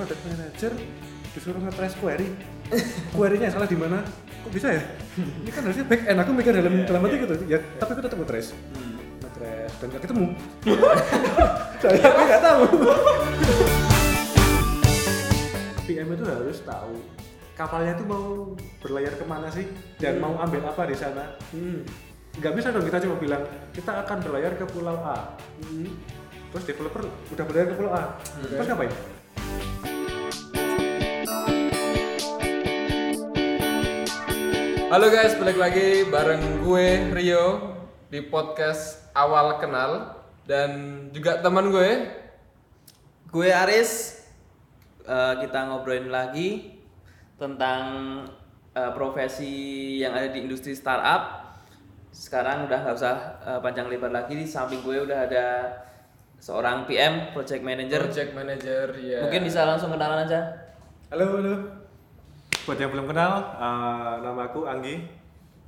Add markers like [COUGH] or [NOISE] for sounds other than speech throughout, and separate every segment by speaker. Speaker 1: manajer disuruh nge-trace query query-nya salah di mana kok bisa ya ini kan harusnya back end aku mikir dalam
Speaker 2: Iya,
Speaker 1: dalam hati
Speaker 2: iya.
Speaker 1: gitu ya tapi aku tetap nge-trace
Speaker 2: Hmm.
Speaker 1: nge-trace dan gak ketemu saya aku nggak tahu PM itu harus tahu kapalnya tuh mau berlayar kemana sih dan mau ambil apa di sana
Speaker 2: Hmm.
Speaker 1: nggak bisa dong kita cuma bilang kita akan berlayar ke pulau A terus developer udah berlayar ke pulau A terus ngapain
Speaker 3: Halo guys, balik lagi bareng gue Rio di podcast Awal Kenal dan juga teman gue.
Speaker 4: Gue Aris, eh, kita ngobrolin lagi tentang eh, profesi yang ada di industri startup. Sekarang udah nggak usah eh, panjang lebar lagi. Di samping gue udah ada seorang PM, project manager.
Speaker 3: Project manager ya.
Speaker 4: Mungkin bisa langsung kenalan aja.
Speaker 1: halo halo buat yang belum kenal eh, nama aku Anggi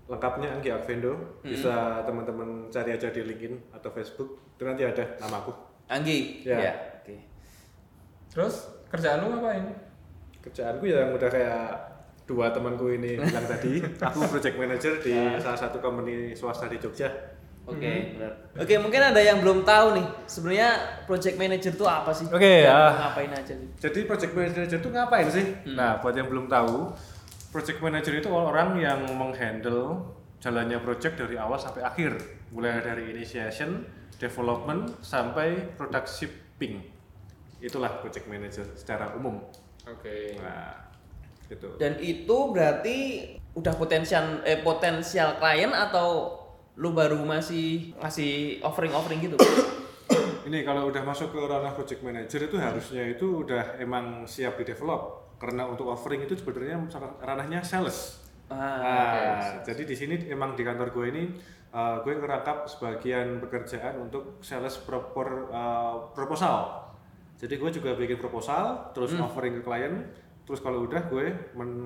Speaker 1: lengkapnya Anggi Akvendo bisa teman-teman cari aja di LinkedIn atau Facebook itu nanti ada nama aku
Speaker 4: Anggi. Iya,
Speaker 1: Ya.
Speaker 4: Oke.
Speaker 3: Terus kerjaan lu ngapain?
Speaker 1: kerjaanku ya yang udah kayak dua temanku ini bilang tadi [LAUGHS] aku project manager di salah satu company swasta di Jogja
Speaker 4: Oke, benar. Oke, mungkin ada yang belum tahu nih. Sebenarnya project manager itu apa sih?
Speaker 1: Oke,
Speaker 4: Dan
Speaker 1: ah.
Speaker 4: Ngapain aja sih?
Speaker 1: Jadi project manager itu ngapain sih? Nah, buat yang belum tahu, project manager itu orang yang menghandle jalannya project dari awal sampai akhir, mulai dari initiation, development sampai product shipping. Itulah project manager secara umum.
Speaker 3: Oke.
Speaker 1: Nah, gitu.
Speaker 4: Dan itu berarti udah potensial eh potensial klien atau lu baru masih ngasih offering offering gitu? [COUGHS]
Speaker 1: Ini kalau udah masuk ke ranah project manager itu harusnya itu udah emang siap di develop karena untuk offering itu sebenarnya ranahnya sales.
Speaker 4: ah,
Speaker 1: Ah, jadi di sini emang di kantor gue ini eh, gue ngerangkap sebagian pekerjaan untuk sales propor, eh, proposal. Jadi gue juga bikin proposal, terus
Speaker 4: Hmm.
Speaker 1: offering ke klien, terus kalau udah gue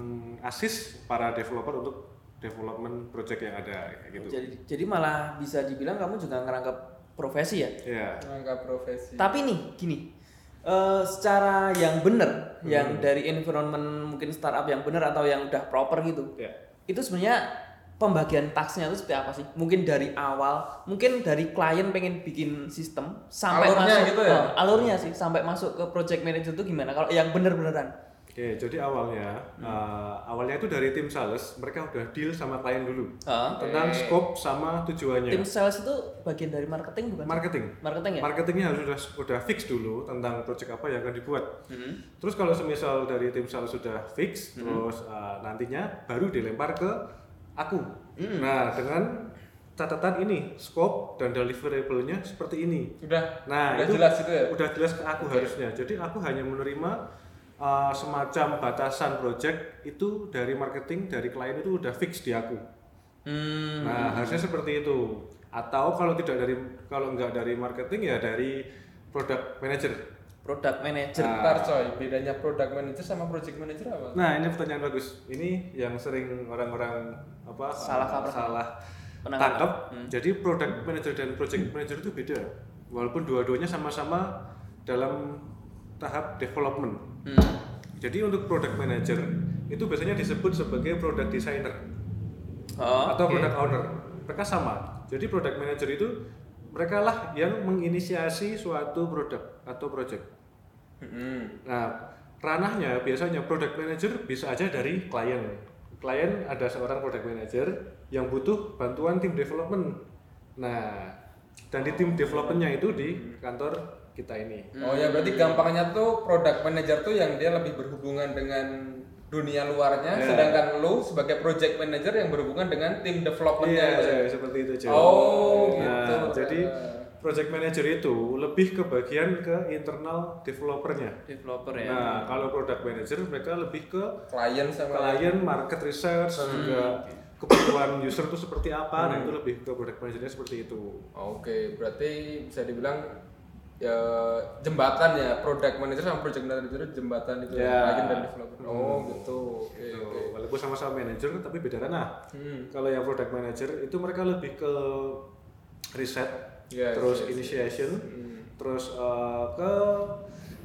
Speaker 1: menasis para developer untuk development project yang ada kayak gitu.
Speaker 4: jadi jadi malah bisa dibilang kamu juga ngerangkap profesi ya.
Speaker 1: Iya.
Speaker 3: Rangka profesi.
Speaker 4: Tapi nih gini, eh, secara yang bener,
Speaker 3: Hmm.
Speaker 4: yang dari environment mungkin startup yang bener atau yang udah proper gitu,
Speaker 3: Ya.
Speaker 1: Iya.
Speaker 4: itu sebenarnya pembagian taksnya itu seperti apa sih? Mungkin dari awal, mungkin dari klien pengen bikin sistem sampai
Speaker 3: Alurnya
Speaker 4: masuk
Speaker 3: gitu ya?
Speaker 4: Eh, alurnya sih sampai masuk ke project manager itu gimana? Kalau yang bener-beneran.
Speaker 1: Oke, jadi awalnya
Speaker 4: Hmm.
Speaker 1: eh, awalnya itu dari tim sales, mereka udah deal sama klien dulu
Speaker 4: Hah?
Speaker 1: tentang scope sama tujuannya.
Speaker 4: Tim sales itu bagian dari marketing bukan? sih?
Speaker 1: marketing.
Speaker 4: marketing ya?
Speaker 1: Marketingnya harus udah, udah fix dulu tentang project apa yang akan dibuat. Terus kalau semisal dari tim sales sudah fix, terus uh, nantinya baru dilempar ke aku. Nah dengan catatan ini, scope dan deliverable-nya seperti ini.
Speaker 3: Udah.
Speaker 1: Nah
Speaker 3: udah
Speaker 1: itu
Speaker 3: jelas itu ya.
Speaker 1: udah jelas ke aku harusnya. Jadi aku hanya menerima uh, semacam batasan project itu dari marketing dari klien itu udah fix di aku.
Speaker 4: Hmm.
Speaker 1: Nah, harusnya seperti itu. Atau kalau tidak dari kalau nggak dari marketing ya dari product manager.
Speaker 4: Product manager.
Speaker 3: Bentar coy, bedanya product manager sama project manager apa?
Speaker 1: Nah, ini pertanyaan bagus. Ini yang sering orang-orang apa
Speaker 4: Salah
Speaker 1: eh,
Speaker 4: kaprah.
Speaker 1: salah
Speaker 4: Penangkap. Hmm.
Speaker 1: tangkap. Jadi product manager dan project manager itu beda. Walaupun dua-duanya sama-sama dalam tahap development.
Speaker 4: Hmm.
Speaker 1: Jadi untuk product manager itu biasanya disebut sebagai product designer.
Speaker 4: Oh,
Speaker 1: atau
Speaker 4: oke.
Speaker 1: product owner mereka sama jadi product manager itu mereka lah yang menginisiasi suatu produk atau project
Speaker 3: Mm-mm.
Speaker 1: nah ranahnya biasanya product manager bisa aja dari klien klien ada seorang product manager yang butuh bantuan tim development nah dan di tim developmentnya itu di kantor kita ini
Speaker 3: Oh ya berarti gampangnya tuh product manager tuh yang dia lebih berhubungan dengan dunia
Speaker 1: Ya.
Speaker 3: luarnya, sedangkan lu sebagai project manager yang berhubungan dengan tim
Speaker 1: Iya,
Speaker 3: developmentnya. gitu ya?
Speaker 1: Joy, seperti itu Joy.
Speaker 3: Oh,
Speaker 1: Nah,
Speaker 3: gitu.
Speaker 1: Jadi project manager itu lebih ke bagian ke internal developernya.
Speaker 4: developer ya.
Speaker 1: Nah, kalau product manager mereka lebih ke
Speaker 3: Klien sama
Speaker 1: klien, market research, juga kebutuhan user itu seperti apa, nah itu lebih ke product managernya seperti itu.
Speaker 3: Oke, berarti bisa dibilang ya, jembatan ya product manager sama project manager itu jembatan itu
Speaker 1: Ya.
Speaker 3: klien dan developer. Oh, gitu. Oke,
Speaker 1: Gitu.
Speaker 3: oke.
Speaker 1: Walaupun sama-sama manager tapi beda ranah.
Speaker 3: Hmm.
Speaker 1: Kalau yang product manager itu mereka lebih ke riset,
Speaker 3: Yes,
Speaker 1: terus
Speaker 3: yes,
Speaker 1: initiation,
Speaker 3: Hmm.
Speaker 1: terus eh, ke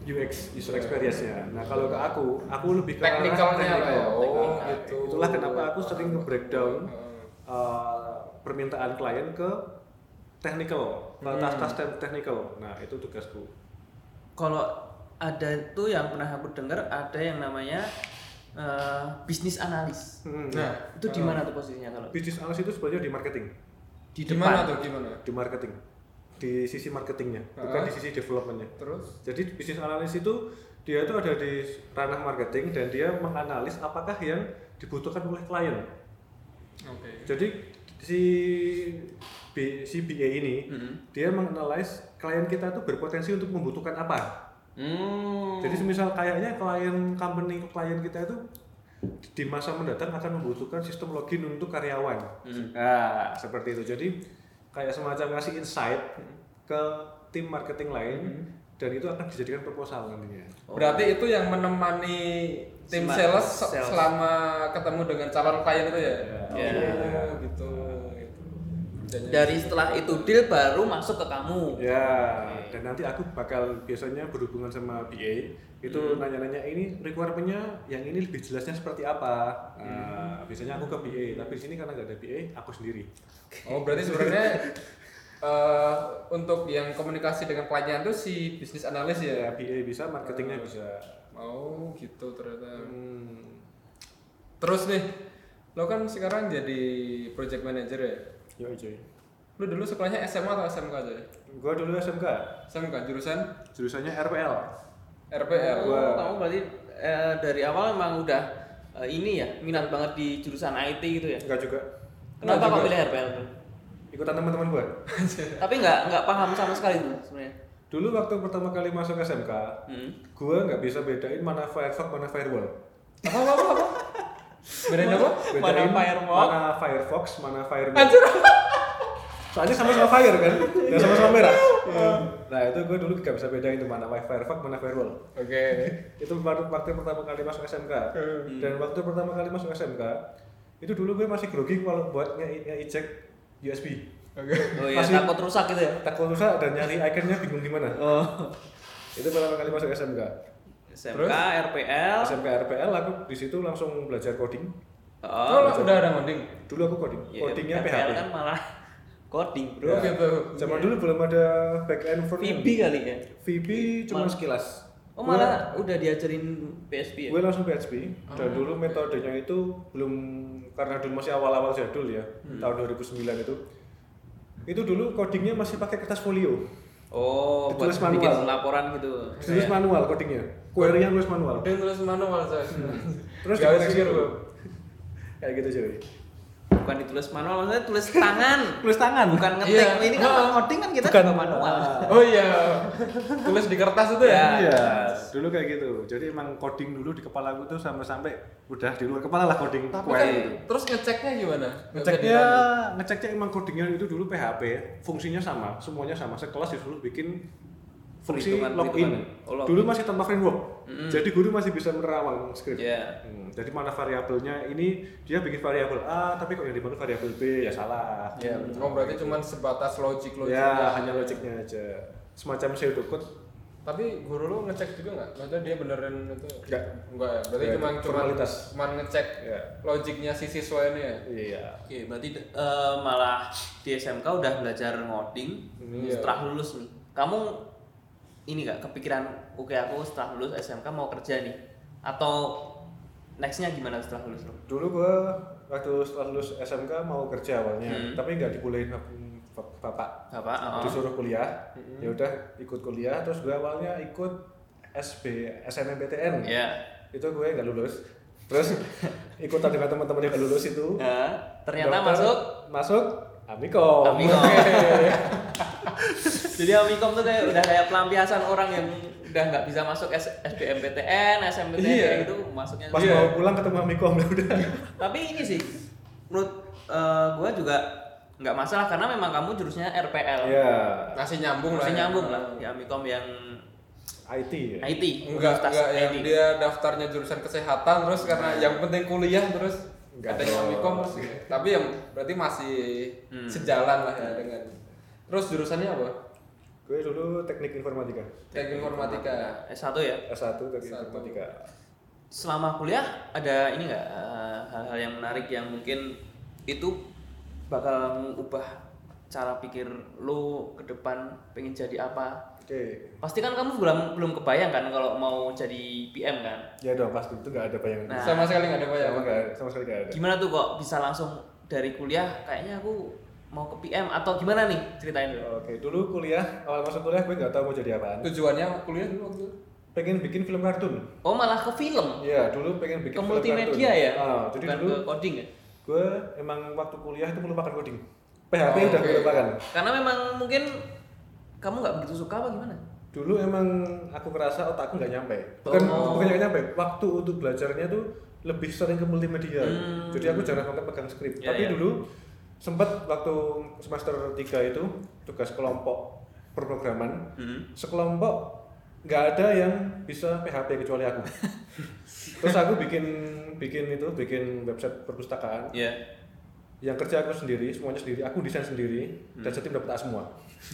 Speaker 1: UX user experience ya. Nah kalau ke aku, aku lebih ke arah
Speaker 3: Teknikalnya Iya. lah ya.
Speaker 1: technical.
Speaker 3: Oh,
Speaker 1: Nah,
Speaker 3: gitu. Oh.
Speaker 1: Itulah kenapa aku sering breakdown
Speaker 3: Heeh.
Speaker 1: permintaan klien ke technical,
Speaker 3: Hmm.
Speaker 1: ke tas-tas te- technical. Nah itu tugasku.
Speaker 4: Kalau ada tuh yang pernah aku dengar ada yang namanya eh, bisnis analis.
Speaker 1: Hmm.
Speaker 3: Nah,
Speaker 4: Itu di mana tuh posisinya kalau?
Speaker 1: Bisnis analis itu sebenarnya di marketing,
Speaker 4: Di
Speaker 3: gimana
Speaker 4: depan.
Speaker 3: tuh gimana?
Speaker 1: di marketing, di sisi marketingnya, bukan
Speaker 3: Ah.
Speaker 1: di sisi developmentnya.
Speaker 3: Terus
Speaker 1: Jadi bisnis analis itu dia itu ada di ranah marketing dan dia menganalis apakah yang dibutuhkan oleh klien.
Speaker 3: oke.
Speaker 1: Jadi si B, si BA ini
Speaker 4: Mm-mm.
Speaker 1: dia menganalisis klien kita itu berpotensi untuk membutuhkan apa.
Speaker 3: Hmm.
Speaker 1: Jadi semisal kayaknya klien company klien kita itu di masa mendatang akan membutuhkan sistem login untuk karyawan. Nah, seperti itu. Jadi kayak semacam ngasih insight ke tim marketing lain dan itu akan dijadikan proposal nantinya.
Speaker 3: Berarti itu yang menemani tim
Speaker 4: Smart
Speaker 3: sales, se-
Speaker 4: sales.
Speaker 3: selama ketemu dengan calon klien itu ya?
Speaker 4: Iya.
Speaker 3: Oh, gitu. gitu. Dan-
Speaker 4: Dari setelah itu deal baru masuk ke kamu.
Speaker 1: Ya, dan nanti aku bakal biasanya berhubungan sama BA itu nanya-nanya ini requirement-nya yang ini lebih jelasnya seperti apa. Nah, biasanya aku ke BA, tapi di sini karena nggak ada BA, aku sendiri.
Speaker 3: Oh, berarti sebenarnya [LAUGHS] eh, untuk yang komunikasi dengan kliennya itu si bisnis analis ya.
Speaker 1: Ya, BA bisa, marketingnya bisa.
Speaker 3: Oh, gitu ternyata.
Speaker 1: Hmm,
Speaker 3: Terus nih, lo kan sekarang jadi project manager ya.
Speaker 1: yoi cuy.
Speaker 3: Lo dulu sekolahnya SMA atau SMK aja? ya?
Speaker 1: Gua dulu SMK,
Speaker 3: SMK jurusan
Speaker 1: jurusannya RPL.
Speaker 3: RPL.
Speaker 4: Oh, kamu berarti eh, dari awal emang udah eh, ini ya minat banget di jurusan IT gitu ya.
Speaker 1: Enggak juga.
Speaker 4: Kenapa
Speaker 3: juga.
Speaker 4: kamu pilih RPL? tuh?
Speaker 1: Ikutan teman-teman gua.
Speaker 4: Tapi nggak nggak paham sama sekali tuh sebenarnya.
Speaker 1: Dulu waktu pertama kali masuk SMK,
Speaker 4: Hmm.
Speaker 1: gua nggak bisa bedain mana Firefox mana firewall.
Speaker 3: Apa apa apa? apa? Bedain apa?
Speaker 1: bedain
Speaker 4: Mana Firefox?
Speaker 1: mana Firefox, mana Firewall. Soalnya sama-sama Fire kan, dan
Speaker 4: Iya.
Speaker 1: sama-sama merah. Nah itu gue dulu gak bisa bedain itu mana Firefox, mana Firewall.
Speaker 3: Oke.
Speaker 1: Itu baru waktu pertama kali masuk SMK.
Speaker 4: Hmm.
Speaker 1: Dan waktu pertama kali masuk SMK, itu dulu gue masih grogi kalau buat nge- nge-eject USB.
Speaker 3: Oke.
Speaker 4: Oh iya,
Speaker 1: Masih-
Speaker 4: takut rusak gitu ya.
Speaker 1: Takut rusak dan nyari iconnya bingung gimana.
Speaker 4: Oh.
Speaker 1: Itu pertama kali masuk SMK.
Speaker 4: SMK,
Speaker 3: Terus?
Speaker 4: RPL.
Speaker 1: SMK RPL aku di situ langsung belajar coding.
Speaker 3: Oh,
Speaker 4: Oh.
Speaker 3: lo udah ada ngoding.
Speaker 1: Dulu aku coding.
Speaker 4: ya,
Speaker 1: Codingnya
Speaker 4: RPL
Speaker 1: PHP.
Speaker 4: kan malah [LAUGHS] coding, Bro.
Speaker 1: Iya.
Speaker 3: Oh, gitu.
Speaker 1: Zaman dulu belum ada back end front
Speaker 4: VB kali ya.
Speaker 1: VB cuma
Speaker 4: Mal-
Speaker 1: sekilas.
Speaker 4: Oh, malah udah diajarin PSP ya.
Speaker 1: Gue langsung PHP dan dulu metodenya itu belum karena dulu masih awal-awal jadul ya, tahun 2009 itu. Itu dulu codingnya masih pakai kertas folio.
Speaker 4: Oh, buat
Speaker 1: Ditulis
Speaker 4: bikin
Speaker 1: manual.
Speaker 4: laporan gitu.
Speaker 1: Tulis manual codingnya. Query-nya tulis manual.
Speaker 3: Udah tulis manual saya.
Speaker 1: Terus
Speaker 3: Gak
Speaker 1: dikoreksi
Speaker 3: pikir,
Speaker 1: dulu.
Speaker 3: Bro.
Speaker 1: Kayak gitu cuy.
Speaker 4: Bukan ditulis manual, maksudnya tulis tangan.
Speaker 1: [LAUGHS] Tulis tangan.
Speaker 4: Bukan ngetik.
Speaker 3: Iya.
Speaker 4: Ini kan
Speaker 3: Oh.
Speaker 4: coding kan kita
Speaker 1: Bukan.
Speaker 4: juga manual. [LAUGHS]
Speaker 3: Oh iya. Tulis di kertas itu ya.
Speaker 4: Iya.
Speaker 1: Dulu kayak gitu. Jadi emang coding dulu di kepala aku tuh sampai-sampai udah di luar kepala lah coding
Speaker 3: Tapi
Speaker 1: query
Speaker 3: kan
Speaker 1: gitu.
Speaker 3: terus ngeceknya gimana? Nggak bisa
Speaker 1: ngeceknya
Speaker 3: dibantu.
Speaker 4: kan-
Speaker 1: ngeceknya emang codingnya itu dulu PHP ya. fungsinya sama semuanya sama sekelas disuruh bikin fungsi
Speaker 4: Perhitungan-
Speaker 1: login
Speaker 4: perhitungan. Oh, login.
Speaker 1: dulu masih tanpa framework
Speaker 4: Mm-mm.
Speaker 1: jadi guru masih bisa menerawang script
Speaker 4: Iya.
Speaker 1: Hmm, jadi mana variabelnya ini dia bikin variabel A tapi kok yang dibangun variabel B ya salah
Speaker 4: Iya,
Speaker 1: Hmm.
Speaker 3: Ya, oh berarti cuma sebatas logik logik.
Speaker 1: ya hanya logiknya aja semacam pseudo code
Speaker 3: Tapi guru lu ngecek juga nggak? Maksudnya dia beneran itu?
Speaker 1: Nggak.
Speaker 3: Enggak ya. Berarti
Speaker 1: Nggak,
Speaker 3: cuma
Speaker 1: itu
Speaker 3: cuma
Speaker 1: formalitas.
Speaker 3: cuma ngecek
Speaker 1: Iya.
Speaker 3: logiknya si siswa ini ya.
Speaker 1: iya
Speaker 4: Oke, berarti eh, malah di SMK udah belajar ngoding
Speaker 3: Iya.
Speaker 4: setelah lulus nih. Kamu ini gak kepikiran oke aku setelah lulus SMK mau kerja nih atau nextnya gimana setelah lulus lo?
Speaker 1: dulu gua waktu setelah lulus SMK mau kerja awalnya
Speaker 4: Hmm.
Speaker 1: tapi nggak dibolehin bap- bapak
Speaker 4: Apa? Oh.
Speaker 1: disuruh kuliah
Speaker 4: Hmm.
Speaker 1: ya udah ikut kuliah terus gue awalnya ikut SB SNMPTN
Speaker 4: Ya.
Speaker 1: itu gue nggak lulus
Speaker 4: [LAUGHS]
Speaker 1: terus ikutan dengan teman-teman yang nggak lulus itu
Speaker 4: Nah, ternyata
Speaker 1: Daftar,
Speaker 4: masuk
Speaker 1: masuk Amikom
Speaker 4: Amikom. [LAUGHS] Jadi Amikom tuh kayak udah kayak pelampiasan orang yang udah nggak bisa masuk S- SBMPTN, SMPTN
Speaker 3: Iya.
Speaker 4: kayak gitu masuknya.
Speaker 1: [LAUGHS] pas
Speaker 3: Iya.
Speaker 1: mau pulang ketemu Amikom [LAUGHS] lah udah
Speaker 4: Tapi ini sih menurut eh, gua juga nggak masalah karena memang kamu jurusnya RPL.
Speaker 1: ya
Speaker 3: Iya.
Speaker 4: Nah.
Speaker 3: Masih nyambung lah.
Speaker 4: Masih
Speaker 3: ya.
Speaker 4: nyambung lah di Amikom yang
Speaker 1: IT ya
Speaker 4: IT.
Speaker 3: Iya. Enggak,
Speaker 4: universitas
Speaker 3: enggak yang
Speaker 4: IT.
Speaker 3: dia daftarnya jurusan kesehatan terus karena yang penting kuliah terus
Speaker 1: Enggak
Speaker 3: ada yang
Speaker 1: Nah. dong.
Speaker 3: amikom terus ya. Tapi yang berarti masih
Speaker 4: Hmm.
Speaker 3: sejalan lah ya dengan. Terus jurusannya apa?
Speaker 1: gue Gue dulu teknik informatika.
Speaker 3: Teknik informatika.
Speaker 4: S1 ya.
Speaker 1: S1 teknik
Speaker 3: S1.
Speaker 1: informatika.
Speaker 4: Selama kuliah ada ini nggak eh, hal-hal yang menarik yang mungkin itu bakal mengubah cara pikir lo ke depan pengen jadi apa?
Speaker 1: Oke.
Speaker 4: Pasti kan kamu belum belum kebayang kan kalau mau jadi PM kan?
Speaker 1: Ya dong pasti itu nggak ada bayangan.
Speaker 4: Nah.
Speaker 3: Sama sekali nggak ada
Speaker 1: Oh iya,
Speaker 3: ya?
Speaker 1: sama,
Speaker 3: bayangan.
Speaker 1: nggak sama sekali nggak ada.
Speaker 4: Gimana tuh kok bisa langsung dari kuliah kayaknya aku mau ke PM atau gimana nih ceritain dulu.
Speaker 1: Oke, dulu kuliah, awal masuk kuliah gue nggak tahu mau jadi apaan.
Speaker 3: Tujuannya kuliah dulu waktu itu.
Speaker 1: Pengen bikin film kartun.
Speaker 4: Oh malah ke film,
Speaker 1: Iya, dulu pengen bikin
Speaker 4: ke
Speaker 1: film
Speaker 4: multimedia
Speaker 1: kartun.
Speaker 4: ya,
Speaker 1: Ah, jadi
Speaker 4: bukan
Speaker 1: dulu
Speaker 4: ke coding ya.
Speaker 1: gue emang waktu kuliah itu melupakan coding. PHP
Speaker 3: Oh,
Speaker 1: udah
Speaker 3: oke.
Speaker 1: gue lupakan.
Speaker 4: Karena memang mungkin kamu nggak begitu suka apa gimana?
Speaker 1: Dulu emang aku ngerasa otakku nggak nyampe. Bukan
Speaker 4: Oh.
Speaker 1: bukan nggak nyampe. Waktu untuk belajarnya tuh lebih sering ke multimedia.
Speaker 4: Hmm.
Speaker 1: Jadi aku jarang banget pegang skrip.
Speaker 4: Ya,
Speaker 1: Tapi
Speaker 4: ya.
Speaker 1: dulu sempat waktu semester 3 itu tugas kelompok perprograman.
Speaker 4: Hmm.
Speaker 1: Sekelompok nggak ada yang bisa PHP kecuali
Speaker 4: [LAUGHS]
Speaker 1: aku. Terus aku bikin bikin itu bikin website perpustakaan.
Speaker 4: Iya.
Speaker 1: yang kerja aku sendiri, semuanya sendiri, aku desain sendiri, dan setim dapat A
Speaker 4: [LAUGHS]
Speaker 1: semua.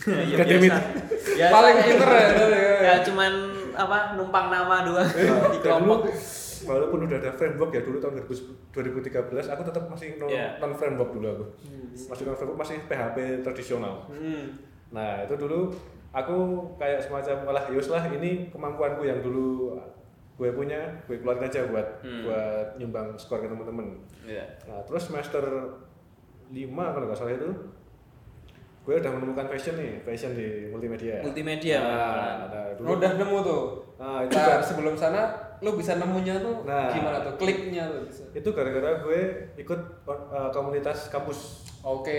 Speaker 4: Iya,
Speaker 1: God damn it.
Speaker 4: Hmm. biasa. Biasa
Speaker 3: Paling
Speaker 4: kan.
Speaker 3: pinter ya, itu ya.
Speaker 4: Ya, cuman apa numpang nama doang di
Speaker 1: Dan Nah,
Speaker 4: kelompok.
Speaker 1: dulu, walaupun udah ada framework ya dulu tahun 2000 2013, aku tetap masih non,
Speaker 4: Iya.
Speaker 1: non framework dulu aku, masih non framework, masih PHP tradisional.
Speaker 3: Hmm.
Speaker 1: Nah itu dulu aku kayak semacam walah yus lah ini kemampuanku yang dulu gue punya, gue keluarin aja buat
Speaker 4: Hmm.
Speaker 1: buat nyumbang skor ke temen-temen.
Speaker 4: Iya.
Speaker 1: Nah, terus semester 5 kalau nggak salah itu gue udah menemukan fashion nih, fashion di multimedia.
Speaker 4: Multimedia,
Speaker 1: Ya. Nah,
Speaker 4: benar.
Speaker 1: nah, dulu.
Speaker 3: Lu udah nemu tuh.
Speaker 1: Nah, itu,
Speaker 3: Nah, sebelum sana lu bisa nemunya tuh
Speaker 1: Nah.
Speaker 3: gimana tuh? Kliknya tuh bisa.
Speaker 1: itu gara-gara gue ikut uh, komunitas kampus.
Speaker 3: Oke.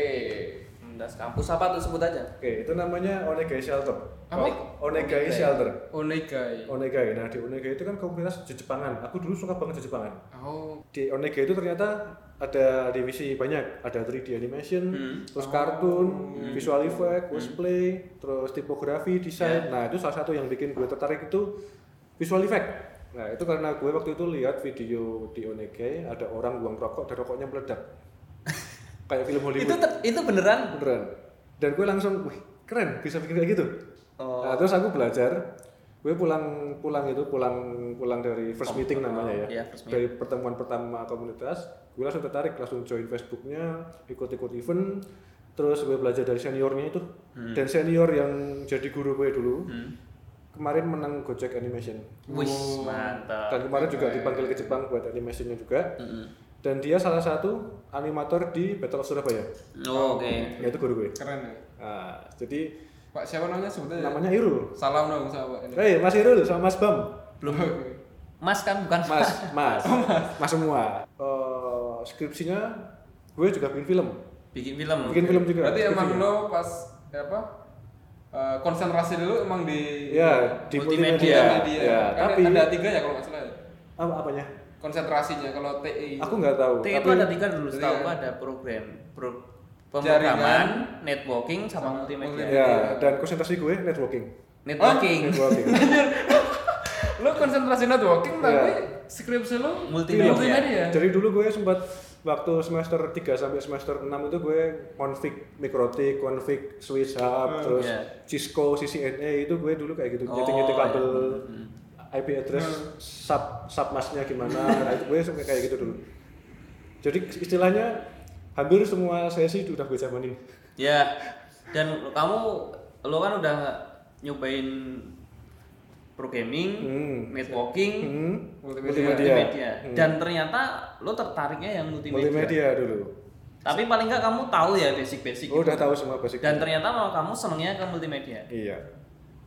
Speaker 4: Das kampus apa tuh sebut aja.
Speaker 1: Oke, itu namanya Onegai Shelter.
Speaker 3: Apa?
Speaker 1: Oh, Onegai Shelter.
Speaker 3: Onegai.
Speaker 1: Onegai. Nah, di Onegai itu kan komunitas Jejepangan. Aku dulu suka banget Jejepangan.
Speaker 3: Oh.
Speaker 1: Di Onegai itu ternyata ada divisi banyak, ada 3D animation,
Speaker 4: Hmm. Oh.
Speaker 1: terus kartun, visual effect, cosplay, terus tipografi, desain. Nah, itu salah satu yang bikin gue tertarik itu visual effect. Nah, itu karena gue waktu itu lihat video di Onegai ada orang buang rokok dan rokoknya
Speaker 4: [LAUGHS]
Speaker 1: meledak. Kayak film Hollywood.
Speaker 4: Itu ter- itu beneran.
Speaker 1: Beneran. Dan gue langsung, wih, keren bisa bikin kayak gitu.
Speaker 4: Oh.
Speaker 1: Nah, terus aku belajar. Gue pulang pulang itu pulang pulang dari first meeting namanya ya.
Speaker 4: iya, first
Speaker 1: Dari pertemuan pertama komunitas, gue langsung tertarik, langsung join Facebooknya, ikut-ikut event. Terus gue belajar dari seniornya itu.
Speaker 4: Hmm.
Speaker 1: Dan senior yang jadi guru gue dulu. Kemarin menang Gojek Animation.
Speaker 4: Wih, mantap.
Speaker 1: Dan kemarin juga dipanggil ke Jepang buat animationnya juga.
Speaker 4: Hmm.
Speaker 1: Dan dia salah satu animator di Battle of Surabaya.
Speaker 4: Oh, Oke.
Speaker 1: Yaitu guru gue.
Speaker 3: Keren ya.
Speaker 1: Nah, jadi
Speaker 3: Pak siapa namanya sebetulnya?
Speaker 1: namanya Irul.
Speaker 3: Salam dong sama Pak. ini.
Speaker 1: Hei, Mas Irul sama Mas Bam.
Speaker 4: Belum. Mas kan bukan
Speaker 1: Mas, [LAUGHS] mas, mas semua. Eh, skripsinya gue juga bikin film,
Speaker 4: bikin film.
Speaker 1: bikin film juga.
Speaker 3: Berarti emang
Speaker 1: skripsinya.
Speaker 3: lo pas apa? eh, konsentrasi dulu emang di
Speaker 1: ya di
Speaker 4: Multimedia.
Speaker 1: multimedia.
Speaker 3: media.
Speaker 1: Ya,
Speaker 3: Kan
Speaker 1: tapi
Speaker 3: ada tiga ya kalau nggak salah. ya?
Speaker 1: apa apanya?
Speaker 3: Konsentrasinya kalau TI.
Speaker 1: Aku nggak tahu.
Speaker 4: T
Speaker 1: tapi
Speaker 4: itu ada tiga dulu,
Speaker 3: Jadi
Speaker 4: setahu
Speaker 3: kan-
Speaker 4: gua ada program, pro- pemrograman, networking
Speaker 3: sama
Speaker 4: sama multimedia.
Speaker 3: multimedia.
Speaker 1: ya dan konsentrasi gue networking.
Speaker 4: Networking,
Speaker 1: Networking.
Speaker 3: lo konsentrasi networking tapi
Speaker 1: Iya.
Speaker 3: skripsi lo
Speaker 4: Multimedia.
Speaker 1: Jadi dulu gue sempat waktu semester 3 sampai semester 6 itu gue konfig mikrotik, konfig switch hub, terus
Speaker 4: Iya.
Speaker 1: Cisco, CCNA itu gue dulu kayak gitu
Speaker 4: Oh,
Speaker 1: nyeting-nyeting
Speaker 4: iya.
Speaker 1: kabel IP address sub submasnya gimana, nah, itu gue suka kayak gitu dulu. Jadi istilahnya hampir semua sesi udah gue jamanin.
Speaker 4: Ya. Dan kamu lo kan udah nyobain programming,
Speaker 1: Hmm.
Speaker 4: networking,
Speaker 1: Hmm,
Speaker 3: Multimedia.
Speaker 4: multimedia.
Speaker 1: Hmm.
Speaker 4: Dan ternyata lo tertariknya yang multimedia.
Speaker 1: multimedia dulu.
Speaker 4: Tapi paling nggak kamu tahu ya basic-basic.
Speaker 1: Gue
Speaker 4: gitu.
Speaker 1: Oh, udah tahu semua basic.
Speaker 4: Dan ternyata malah kamu senengnya ke multimedia.
Speaker 1: Iya.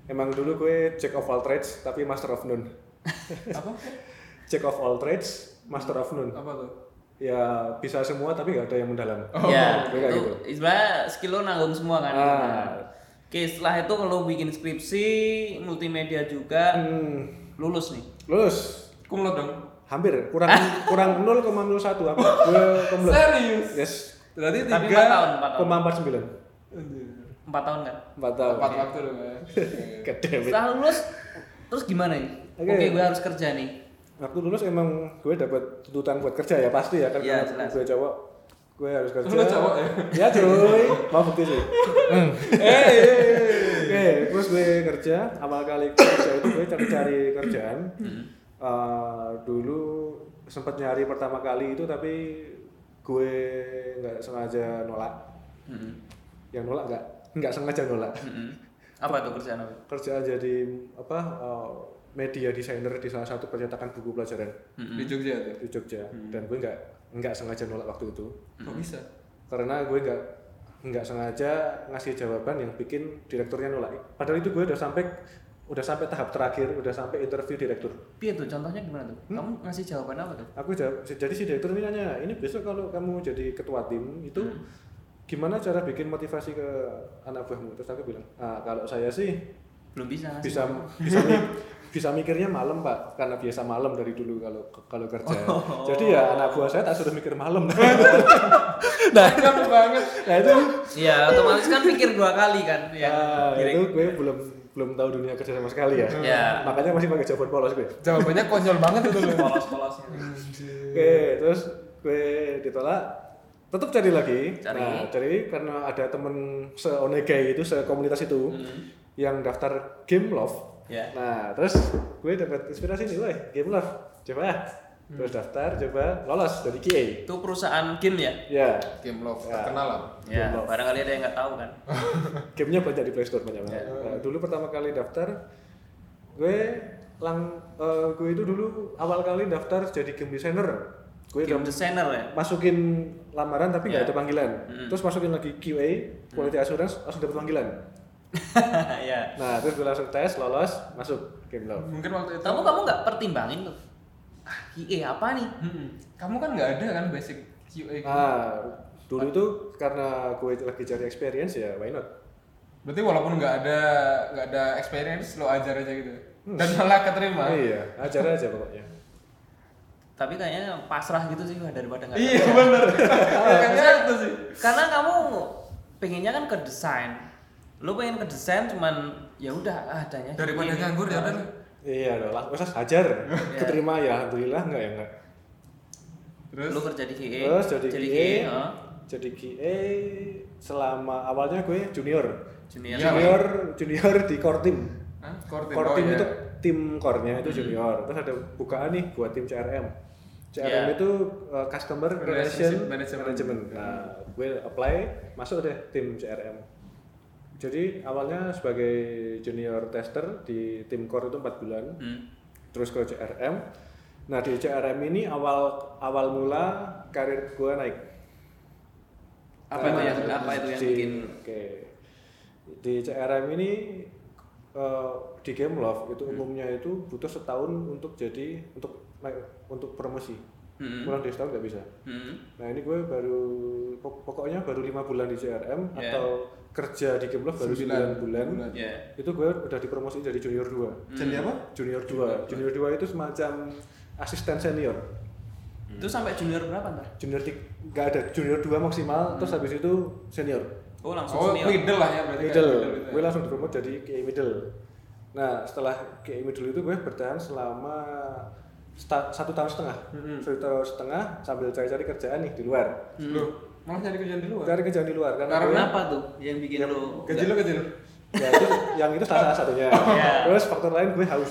Speaker 1: Emang dulu gue check of all trades tapi master of none.
Speaker 3: apa
Speaker 1: Check of all trades, master of none.
Speaker 3: apa tuh
Speaker 1: Ya bisa semua tapi nggak ada yang mendalam.
Speaker 4: ya,
Speaker 1: kayak gitu.
Speaker 4: itu istilah skill lo nanggung semua kan.
Speaker 1: Ah.
Speaker 4: Nah, Oke, setelah itu lo bikin skripsi, multimedia juga,
Speaker 1: Hmm,
Speaker 4: lulus nih.
Speaker 1: lulus
Speaker 3: cum laude dong
Speaker 1: hampir kurang kurang 0,01 apa? Gue komplek.
Speaker 3: serius
Speaker 1: Yes.
Speaker 3: berarti
Speaker 4: Tapi
Speaker 3: tiga
Speaker 4: 4 tahun, 4 tahun.
Speaker 1: 0,49.
Speaker 3: Anjir.
Speaker 4: 4 tahun kan.
Speaker 1: Empat tahun.
Speaker 3: tepat waktu dong ya
Speaker 1: God damn it.
Speaker 4: Setelah lulus terus gimana nih?
Speaker 1: Oke.
Speaker 4: Oke, gue harus kerja nih.
Speaker 1: Waktu lulus emang gue dapat tuntutan buat kerja ya pasti ya kan
Speaker 4: Iya,
Speaker 1: karena
Speaker 4: jelas.
Speaker 1: gue cowok gue harus kerja. Iya,
Speaker 3: Lu cowok ya?
Speaker 1: Ya cuy, mau bukti sih.
Speaker 3: eh eh, eh.
Speaker 1: terus gue kerja, awal kali kerja itu gue cari-cari kerjaan.
Speaker 4: Hmm.
Speaker 1: Eh, dulu sempat nyari pertama kali itu tapi gue nggak sengaja nolak.
Speaker 4: Mm-mm.
Speaker 1: Yang nolak nggak, nggak sengaja nolak.
Speaker 4: Mm-mm. Apa tuh kerjaan apa?
Speaker 1: Kerjaan jadi apa? eh, media desainer di salah satu percetakan buku pelajaran
Speaker 3: di Jogja tuh
Speaker 1: di Jogja dan gue nggak nggak sengaja nolak waktu itu
Speaker 3: kok bisa
Speaker 1: karena gue nggak nggak sengaja ngasih jawaban yang bikin direkturnya nolak. Padahal itu gue udah sampai udah sampai tahap terakhir, udah sampai interview direktur.
Speaker 4: Piye tuh contohnya gimana tuh?
Speaker 1: Hmm?
Speaker 4: Kamu ngasih jawaban apa tuh?
Speaker 1: Aku jawab, jadi si direktur ini nanya, ini besok kalau kamu jadi ketua tim itu gimana cara bikin motivasi ke anak buahmu? Terus aku bilang, "Ah, kalau saya sih
Speaker 4: Belum bisa. ngasih.
Speaker 1: bisa bisa mi- bisa mikirnya malam pak, karena biasa malam dari dulu kalau kalau kerja. Jadi ya anak buah saya tak suruh mikir malam. [LAUGHS]
Speaker 3: nah kamu banget
Speaker 1: nah itu
Speaker 4: Iya, otomatis kan pikir dua kali kan ya.
Speaker 1: Ah,
Speaker 4: Direk-
Speaker 1: itu gue belum belum tahu dunia kerja sama sekali ya.
Speaker 4: Ya.
Speaker 1: Makanya masih pakai jawaban polos gue.
Speaker 3: jawabannya konyol banget itu loh
Speaker 4: [LAUGHS] Polos-polosnya.
Speaker 1: Oke,
Speaker 4: Hmm.
Speaker 1: terus gue ditolak. Tetap cari lagi.
Speaker 4: Cari.
Speaker 1: Nah, cari karena ada temen seonegai itu, sekomunitas itu yang daftar game love.
Speaker 4: Hmm. Ya.
Speaker 1: Nah, terus gue dapat inspirasi nih, weh, game love. Coba.
Speaker 4: Hmm.
Speaker 1: Terus daftar, coba lolos dari QA.
Speaker 4: Itu perusahaan game ya?
Speaker 1: Ya,
Speaker 3: game love
Speaker 1: Ya.
Speaker 3: terkenal lah
Speaker 4: Ya,
Speaker 1: Belum.
Speaker 4: barangkali ada yang nggak tahu kan.
Speaker 1: gamenya banyak di playstore banyak banget.
Speaker 4: Ya.
Speaker 1: Nah, dulu pertama kali daftar, gue lang, eh, gue itu dulu awal kali daftar jadi game designer. Gue
Speaker 4: Game
Speaker 1: udah
Speaker 4: designer ya. [LAUGHS]
Speaker 1: masukin lamaran tapi nggak
Speaker 4: Ya. Hmm.
Speaker 1: ada panggilan. Terus masukin lagi QA, quality assurance, langsung dapat panggilan.
Speaker 4: ya.
Speaker 1: Nah, terus gue langsung tes, lolos, masuk game love.
Speaker 3: mungkin waktu itu
Speaker 4: Kamu kamu nggak pertimbangin tuh. Ah, IE apa nih?
Speaker 3: Mm-mm. kamu kan nggak ada kan basic QA gitu.
Speaker 1: Nah, dulu itu karena gue lagi cari experience ya, why not?
Speaker 3: berarti walaupun nggak ada nggak ada experience lo ajar aja gitu dan malah keterima
Speaker 1: iya, ajar aja pokoknya.
Speaker 4: Tapi kayaknya pasrah gitu sih daripada nggak.
Speaker 3: iya bener kayaknya itu sih
Speaker 4: Karena kamu pengennya kan ke desain. Lu pengen ke desain cuman ya udah adanya.
Speaker 3: daripada
Speaker 4: ini.
Speaker 3: nganggur ya udah
Speaker 1: Iya, udah lah, usah
Speaker 4: [LAUGHS]
Speaker 1: ajar. Keterima ya, alhamdulillah nggak ya nggak.
Speaker 3: terus
Speaker 4: Lu kerja di E. QA.
Speaker 1: Terus jadi E. QA,
Speaker 4: E, heeh.
Speaker 1: jadi QA selama awalnya gue junior.
Speaker 4: Junior.
Speaker 1: Junior, junior di core team.
Speaker 3: Hah? Core team.
Speaker 1: Core
Speaker 3: Oh,
Speaker 1: team
Speaker 3: iya.
Speaker 1: itu tim core-nya itu junior. Terus ada bukaan nih buat tim CRM. CRM
Speaker 4: Iya.
Speaker 1: itu uh, customer
Speaker 3: Relationship
Speaker 1: relation
Speaker 3: management.
Speaker 1: management. Nah, gue apply masuk deh tim CRM. Jadi awalnya sebagai junior tester di tim core itu 4 bulan
Speaker 4: Hmm.
Speaker 1: terus ke CRM. Nah di CRM ini awal awal mula karir gue naik. Nah,
Speaker 4: Apa itu yang apa itu yang
Speaker 1: di,
Speaker 4: bikin
Speaker 1: Oke. Di CRM ini eh, di game love itu
Speaker 4: Hmm.
Speaker 1: umumnya itu butuh setahun untuk jadi untuk naik- untuk promosi.
Speaker 4: Hmm.
Speaker 1: Kurang dari setahun nggak bisa.
Speaker 4: Hmm.
Speaker 1: Nah ini gue baru pok- pokoknya baru lima bulan di CRM
Speaker 4: Yeah.
Speaker 1: atau kerja di game love baru
Speaker 3: Sembilan
Speaker 1: 9 bulan.
Speaker 3: bulan.
Speaker 4: Ya.
Speaker 1: Itu gue udah dipromosi jadi junior 2
Speaker 3: jadi apa
Speaker 1: junior 2 junior 2 itu semacam asisten senior
Speaker 4: Itu sampai junior berapa ntar?
Speaker 1: junior nggak ada junior 2 maksimal terus habis itu senior
Speaker 4: Oh langsung
Speaker 3: oh
Speaker 4: senior.
Speaker 3: middle lah ya berarti kayak
Speaker 1: middle
Speaker 3: gitu ya.
Speaker 1: gue langsung dipromote jadi ke middle nah setelah ke middle itu gue bertahan selama sta- satu tahun setengah satu tahun setengah sambil cari-cari kerjaan nih di luar
Speaker 3: Loh, malah nyari kerjaan di luar
Speaker 1: cari kerjaan di luar karena
Speaker 4: Karena
Speaker 1: gue-
Speaker 4: apa tuh yang bikin lu
Speaker 3: gaji lo kecil
Speaker 1: ya itu yang itu salah salah satunya
Speaker 4: Iya.
Speaker 1: terus faktor lain gue haus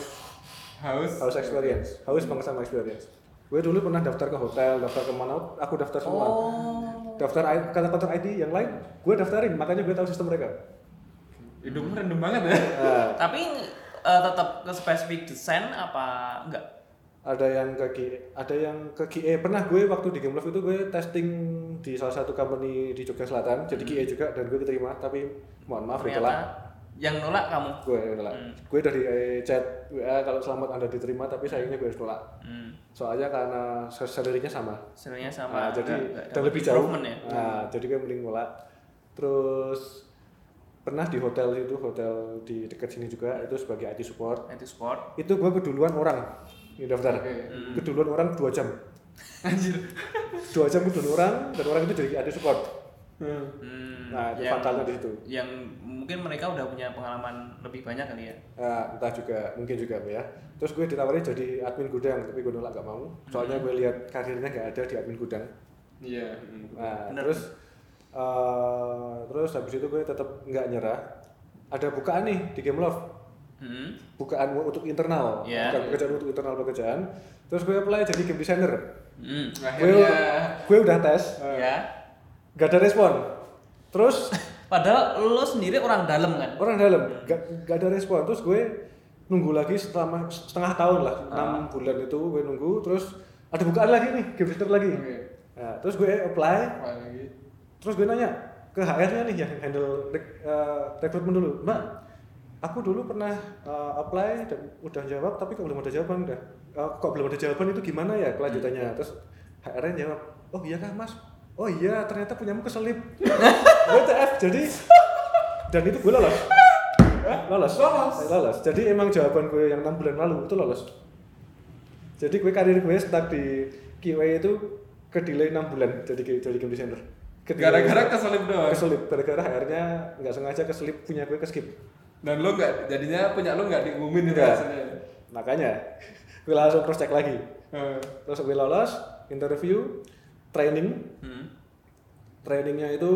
Speaker 3: haus
Speaker 1: haus experience haus banget sama experience gue dulu pernah daftar ke hotel daftar kemana aku daftar semua daftar I- kata kantor ID yang lain gue daftarin makanya gue tahu sistem mereka
Speaker 3: hidup rendem banget ya
Speaker 1: Nah,
Speaker 4: Tapi eh, tetap ke spesifik desain apa enggak?
Speaker 1: ada yang ke GE, ada yang ke GE pernah gue waktu di Game Love itu gue testing di salah satu company di Jogja Selatan jadi GE juga dan gue diterima tapi mohon maaf ditolak
Speaker 4: yang nolak kamu.
Speaker 1: gue nolak gue udah di eh, chat WA kalau selamat anda diterima tapi sayangnya gue harus nolak
Speaker 4: Hmm.
Speaker 1: soalnya karena salary-nya sama
Speaker 4: Sebenarnya
Speaker 1: Nah,
Speaker 4: sama.
Speaker 1: jadi
Speaker 4: enggak- enggak
Speaker 1: dan
Speaker 4: dapat
Speaker 1: lebih jauh.
Speaker 4: improvement ya.
Speaker 1: Nah, jadi gue mending mulai. Terus pernah di hotel itu, hotel di dekat sini juga itu sebagai IT support.
Speaker 4: Anti sport.
Speaker 1: Itu gue keduluan orang. Ini daftar. Keduluan orang 2
Speaker 4: [LAUGHS]
Speaker 1: jam.
Speaker 3: anjir
Speaker 1: 2 jam keduluan orang dan orang itu jadi IT support.
Speaker 4: Hmm,
Speaker 1: Nah, itu
Speaker 4: yang-
Speaker 1: fatalnya di situ.
Speaker 4: Yang mungkin mereka udah punya pengalaman lebih banyak kali ya.
Speaker 1: Nah, entah juga mungkin juga ya. Terus gue ditawari jadi admin gudang, tapi gue nolak gak mau. Soalnya
Speaker 4: Hmm.
Speaker 1: gue lihat karirnya gak ada di admin gudang.
Speaker 3: iya
Speaker 1: Nah,
Speaker 4: Bener.
Speaker 1: terus eh, terus habis itu gue tetap nggak nyerah. ada bukaan nih di Game Love
Speaker 4: Hmm.
Speaker 1: bukaan untuk internal
Speaker 4: Iya.
Speaker 1: bukan pekerjaan untuk internal pekerjaan terus gue apply jadi game designer
Speaker 4: Hmm.
Speaker 1: gue
Speaker 3: akhirnya Iya.
Speaker 1: gue udah tes
Speaker 4: Ya.
Speaker 1: gak ada respon terus
Speaker 4: Padahal lo sendiri orang dalam kan.
Speaker 1: orang dalam gak, gak ada respon terus gue nunggu lagi selama setengah tahun lah
Speaker 3: Ah.
Speaker 1: enam bulan itu gue nunggu terus ada bukaan lagi nih game designer lagi
Speaker 3: Oke.
Speaker 1: Nah, terus gue apply
Speaker 3: apa lagi
Speaker 1: terus gue nanya ke HR-nya nih yang handle rek- eh, rekrutmen dulu mbak aku dulu pernah eh, apply dan udah jawab tapi kok belum ada jawaban udah Eh, kok belum ada jawaban itu gimana ya kelanjutannya terus HR-nya jawab oh iya kah mas oh iya ternyata punyamu keselip [LAUGHS] WTF jadi dan itu gue lolos lolos
Speaker 3: Lolos.
Speaker 1: lolos jadi emang jawaban gue yang enam bulan lalu itu lolos jadi gue karir gue stuck di QA itu ke delay 6 bulan jadi jadi game designer. Ke delay-
Speaker 3: gara-gara keselip doang
Speaker 1: keselip gara-gara HR-nya nggak sengaja keselip punya gue ke skip.
Speaker 3: dan lo nggak jadinya punya lo nggak diumumin itu
Speaker 1: Nggak.
Speaker 3: hasilnya
Speaker 1: Makanya gue langsung cross check lagi.
Speaker 3: Eh,
Speaker 1: Terus gue lolos interview training
Speaker 4: Hmm.
Speaker 1: trainingnya itu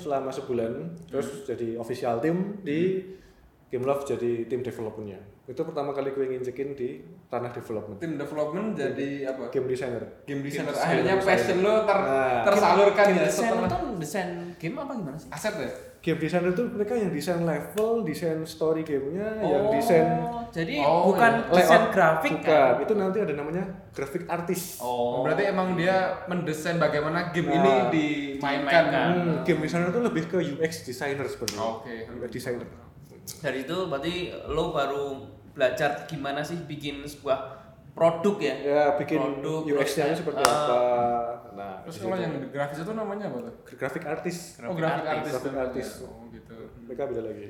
Speaker 1: selama sebulan terus
Speaker 3: Hmm.
Speaker 1: jadi official team di Game Love jadi tim developmentnya itu pertama kali gue nginjekin di ranah development
Speaker 3: tim development jadi apa
Speaker 1: game designer
Speaker 3: game designer
Speaker 1: designer.
Speaker 3: akhirnya passion lo ter
Speaker 1: Nah.
Speaker 3: tersalurkan ya
Speaker 4: Desain
Speaker 3: setelah
Speaker 4: itu desain game apa gimana sih?
Speaker 3: aset ya
Speaker 1: game designer itu mereka yang desain level, desain story gamenya, Iya, yang desain
Speaker 4: Jadi
Speaker 3: Oh,
Speaker 4: bukan
Speaker 3: iya.
Speaker 4: desain
Speaker 1: layout.
Speaker 4: grafik
Speaker 1: Bukan,
Speaker 4: kan?
Speaker 1: itu nanti ada namanya grafik artis.
Speaker 4: Oh.
Speaker 3: berarti emang dia mendesain bagaimana game
Speaker 1: Nah,
Speaker 3: ini dimainkan
Speaker 4: dimainkan.
Speaker 1: Hmm, game designer itu lebih ke UX designer sebenarnya.
Speaker 3: iya. Oke.
Speaker 1: UX designer.
Speaker 4: Dari itu berarti lo baru belajar gimana sih bikin sebuah produk ya?
Speaker 1: Ya bikin
Speaker 4: Produk,
Speaker 1: UX-nya
Speaker 4: terus-
Speaker 1: seperti
Speaker 4: ah.
Speaker 1: apa. Nah,
Speaker 3: terus
Speaker 1: di
Speaker 3: kalau
Speaker 1: situ.
Speaker 3: yang grafis itu namanya apa tuh
Speaker 1: grafik artis.
Speaker 4: Grafik
Speaker 3: oh grafik
Speaker 4: artis.
Speaker 3: artis,
Speaker 1: Grafik
Speaker 3: namanya.
Speaker 1: artis.
Speaker 3: oh gitu
Speaker 1: Mereka beda lagi.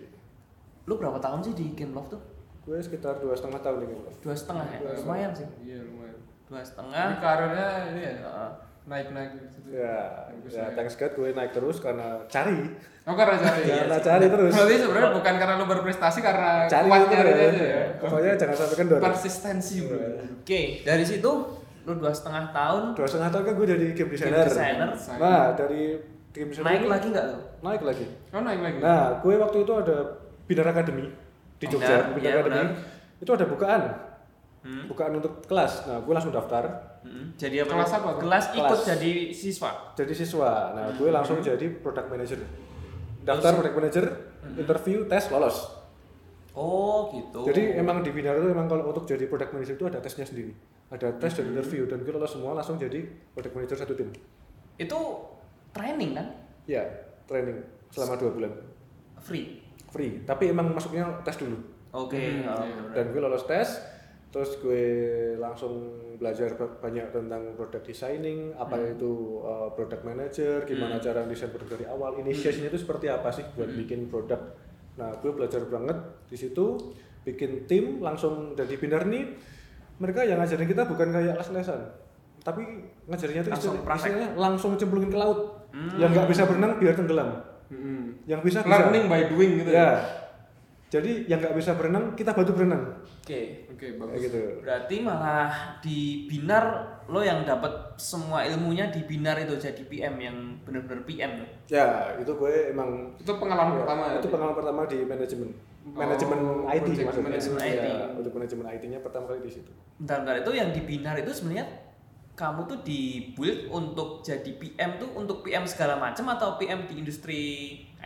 Speaker 4: Lo berapa tahun sih di Game Love tuh?
Speaker 1: Gue sekitar dua setengah tahun di Game Love.
Speaker 4: Dua setengah ya? Lumayan sih.
Speaker 3: iya lumayan
Speaker 4: Dua
Speaker 3: Ini
Speaker 4: setengah.
Speaker 3: karirnya ini ya
Speaker 4: Heeh.
Speaker 3: naik naik gitu
Speaker 1: Ya,
Speaker 3: Bagus
Speaker 1: ya,
Speaker 3: ya.
Speaker 1: thanks God gue naik terus karena cari.
Speaker 3: oh karena cari
Speaker 1: karena cari terus.
Speaker 3: berarti sebenarnya bukan karena lo berprestasi karena
Speaker 1: Cari
Speaker 3: kuat
Speaker 1: itu
Speaker 3: nyarinya
Speaker 1: ya.
Speaker 3: Nah, aja ya
Speaker 1: Pokoknya jangan Iya. sampai kendor.
Speaker 3: persistensi bro
Speaker 4: Oke, dari situ lo dua setengah tahun
Speaker 1: Dua setengah tahun kan gue jadi game
Speaker 4: game
Speaker 1: designer.
Speaker 4: designer
Speaker 1: Nah, dari game designer
Speaker 4: naik
Speaker 1: ini-
Speaker 4: lagi nggak lo?
Speaker 1: naik lagi.
Speaker 3: oh naik lagi
Speaker 1: Nah, gue waktu itu ada Binar Academy di
Speaker 4: Oh,
Speaker 1: Jogja,
Speaker 4: benar,
Speaker 1: Binar
Speaker 4: iya,
Speaker 1: Academy.
Speaker 4: benar.
Speaker 1: Itu ada bukaan.
Speaker 4: Hmm.
Speaker 1: Bukaan untuk kelas. Nah, gue langsung daftar
Speaker 4: Hmm, Jadi apa?
Speaker 3: Kelas apa?
Speaker 4: Kelas ikut
Speaker 1: Kelas.
Speaker 4: jadi siswa.
Speaker 1: jadi siswa. Nah, gue
Speaker 4: Hmm.
Speaker 1: langsung jadi product manager. Daftar product manager, interview, tes, lolos.
Speaker 4: Hmm. Oh gitu.
Speaker 1: Jadi emang di Binar itu emang kalau untuk jadi product manager itu ada tesnya sendiri. Ada tes
Speaker 4: Hmm.
Speaker 1: dan interview dan gue lolos semua langsung jadi product manager satu tim.
Speaker 4: itu training kan?
Speaker 1: Ya, training selama dua bulan.
Speaker 4: Free.
Speaker 1: Free, tapi emang masuknya tes dulu.
Speaker 3: Hmm,
Speaker 4: Oke. oh,
Speaker 3: iya.
Speaker 1: dan gue lolos tes terus gue langsung belajar ba- banyak tentang product designing apa itu uh, product manager gimana cara desain produk dari awal inisiasinya itu seperti apa sih buat bikin produk nah gue belajar banget di situ bikin tim langsung dari binar nih mereka yang ngajarin kita bukan kayak les-lesan tapi ngajarinnya itu
Speaker 4: Langsung
Speaker 1: istilah-
Speaker 4: praktek.
Speaker 1: istilahnya langsung cemplungin ke laut yang nggak bisa berenang biar tenggelam
Speaker 3: Mm-mm.
Speaker 1: yang Ya, bisa bisa.
Speaker 3: learning by doing gitu
Speaker 1: ya jadi yang nggak bisa berenang kita bantu berenang
Speaker 4: Oke.
Speaker 3: oke
Speaker 1: kayak
Speaker 3: bagus
Speaker 1: gitu
Speaker 4: Berarti malah di binar lo yang dapat semua ilmunya di binar itu jadi PM yang bener-bener PM lo.
Speaker 1: Ya, itu gue emang
Speaker 3: itu pengalaman pertama ya?
Speaker 1: Iya. itu pengalaman pertama di manajemen.
Speaker 3: Oh,
Speaker 1: Manajemen IT
Speaker 3: project
Speaker 1: maksudnya.
Speaker 3: management
Speaker 1: Ya,
Speaker 4: IT.
Speaker 1: untuk manajemen IT-nya pertama kali di situ.
Speaker 4: Bentar, bentar itu yang di binar itu sebenarnya kamu tuh di build untuk jadi PM tuh untuk PM segala macam atau PM di industri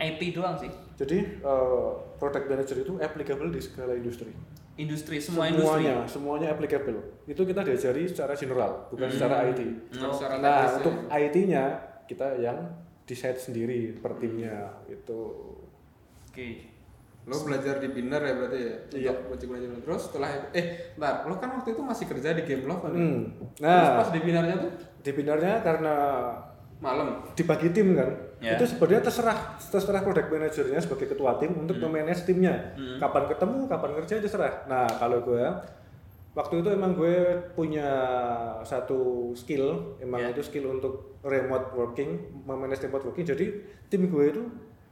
Speaker 4: IT doang sih?
Speaker 1: Jadi, eh, product manager itu applicable di segala industri.
Speaker 4: Industri semua industri.
Speaker 1: semuanya, semuanya applicable. Itu kita diajari secara general, bukan secara IT.
Speaker 3: Harus Hmm. Oh, secara
Speaker 1: Nah,
Speaker 3: teknis ya.
Speaker 1: untuk IT-nya kita yang decide sendiri per timnya itu.
Speaker 4: Oke.
Speaker 3: lo belajar di binar ya berarti ya
Speaker 1: Iya.
Speaker 3: Untuk project management. terus setelah eh bentar lo kan waktu itu masih kerja di game love kan
Speaker 1: Hmm.
Speaker 3: terus
Speaker 1: Nah,
Speaker 3: pas di binarnya tuh
Speaker 1: di binarnya karena
Speaker 3: malam
Speaker 1: dibagi tim kan
Speaker 4: Ya.
Speaker 1: itu sebenarnya terserah terserah product manajernya sebagai ketua tim untuk
Speaker 3: Hmm.
Speaker 1: memanage timnya kapan ketemu kapan kerja terserah nah kalau gue waktu itu emang gue punya satu skill emang
Speaker 4: Ya.
Speaker 1: itu skill untuk remote working memanage remote working jadi tim gue itu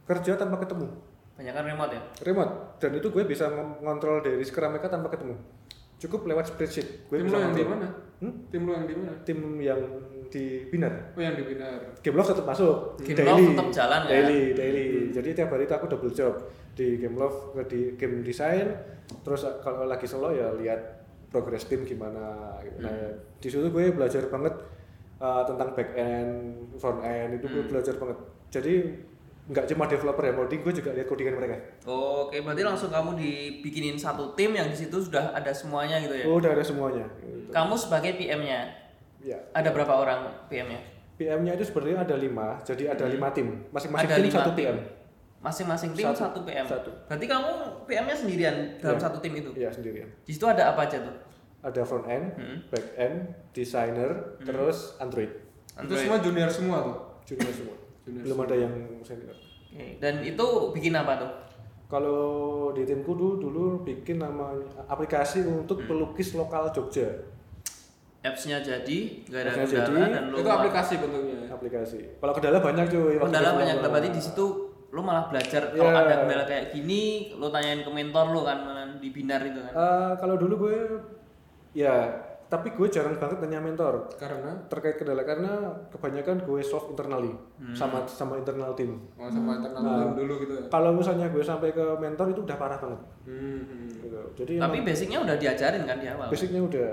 Speaker 1: kerja tanpa ketemu
Speaker 4: Banyak kan remote ya?
Speaker 1: remote dan itu gue bisa mengontrol dari scrum mereka tanpa ketemu cukup lewat spreadsheet gue
Speaker 3: tim
Speaker 1: bisa
Speaker 3: lo yang di
Speaker 1: ngontrol.
Speaker 3: mana
Speaker 1: Hmm?
Speaker 3: tim lo yang di mana
Speaker 1: tim yang di binar
Speaker 3: oh yang di binar
Speaker 1: Gameloft tetap masuk
Speaker 4: Gameloft
Speaker 1: daily
Speaker 4: tetap jalan, ya?
Speaker 1: daily daily jadi tiap hari itu aku double job di game love ke di game design terus eh, kalau lagi solo ya lihat progress tim gimana gitu.
Speaker 4: Hmm.
Speaker 1: nah di situ gue belajar banget eh, tentang back end front end itu
Speaker 4: Hmm.
Speaker 1: gue belajar banget jadi nggak cuma developer ya coding gue juga lihat codingan mereka
Speaker 4: Oke, berarti langsung kamu dibikinin satu tim yang di situ sudah ada semuanya gitu ya.
Speaker 1: oh udah ada semuanya gitu.
Speaker 4: Kamu sebagai PM-nya,
Speaker 1: ya
Speaker 4: ada berapa orang PM-nya?
Speaker 1: PM-nya itu sebenarnya ada lima, jadi ada lima tim, masing-masing
Speaker 4: Hmm. Ada
Speaker 1: tim
Speaker 4: lima
Speaker 1: satu
Speaker 4: tim.
Speaker 1: PM.
Speaker 4: Masing-masing tim
Speaker 1: Satu.
Speaker 4: satu, PM.
Speaker 1: Satu.
Speaker 4: Berarti kamu PM-nya sendirian dalam satu tim itu.
Speaker 1: Iya sendirian.
Speaker 4: Di situ ada apa aja tuh?
Speaker 1: Ada front end,
Speaker 4: Hmm.
Speaker 1: back end, designer, terus Android.
Speaker 3: Itu semua junior semua tuh.
Speaker 1: Junior semua.
Speaker 3: Junior
Speaker 1: Belum ada yang senior.
Speaker 4: Oke, Dan itu bikin apa tuh?
Speaker 1: Kalau di timku dulu, dulu bikin nama aplikasi
Speaker 4: Hmm.
Speaker 1: untuk pelukis lokal Jogja
Speaker 4: Apps-nya jadi, nggak ada
Speaker 1: Apps-nya
Speaker 4: kendala
Speaker 1: jadi,
Speaker 4: dan lo
Speaker 3: Itu aplikasi
Speaker 4: ya?
Speaker 3: bentuknya.
Speaker 1: aplikasi. Kalau kendala banyak cuy. waktu
Speaker 4: kendala
Speaker 1: itu.
Speaker 4: banyak. Lah, Berarti di situ lo malah belajar kalau
Speaker 1: Iya.
Speaker 4: ada kendala kayak gini, lo tanyain ke mentor lo kan di binar itu kan.
Speaker 1: Eh, kalau dulu gue, ya tapi gue jarang banget nanya mentor.
Speaker 3: Karena
Speaker 1: terkait kendala karena kebanyakan gue solve internally
Speaker 4: Hmm.
Speaker 1: sama sama internal tim.
Speaker 3: oh, sama internal dulu- dulu gitu ya.
Speaker 1: Kalau misalnya gue sampai ke mentor itu udah parah banget.
Speaker 3: Hmm, hmm.
Speaker 1: gitu. Jadi
Speaker 4: Tapi
Speaker 1: emang
Speaker 4: basicnya udah diajarin kan di awal.
Speaker 1: basicnya udah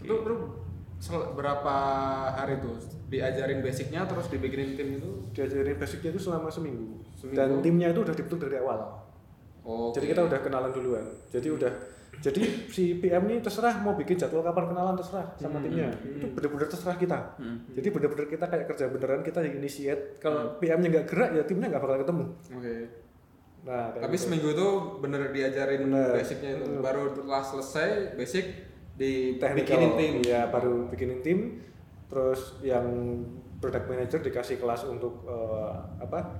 Speaker 3: Itu lu sel- berapa hari tuh diajarin basicnya terus dibikinin tim itu?
Speaker 1: diajarin basicnya itu selama seminggu.
Speaker 3: Seminggu.
Speaker 1: Dan timnya itu udah dibentuk dari awal.
Speaker 3: Oh.
Speaker 1: Jadi kita udah kenalan duluan. Jadi udah jadi si PM ini terserah mau bikin jadwal kapan kenalan terserah sama timnya. Itu bener-bener terserah kita. Jadi bener-bener kita kayak kerja beneran kita yang initiate. Kalau PM-nya nggak gerak ya timnya nggak bakal ketemu.
Speaker 3: Oke.
Speaker 1: Nah, kayak
Speaker 3: Tapi
Speaker 1: gitu.
Speaker 3: seminggu itu bener diajarin
Speaker 1: Bener.
Speaker 3: basicnya itu. Baru setelah selesai basic
Speaker 1: technical
Speaker 3: dibikinin tim.
Speaker 1: ya baru bikinin tim terus yang product manager dikasih kelas untuk eh, apa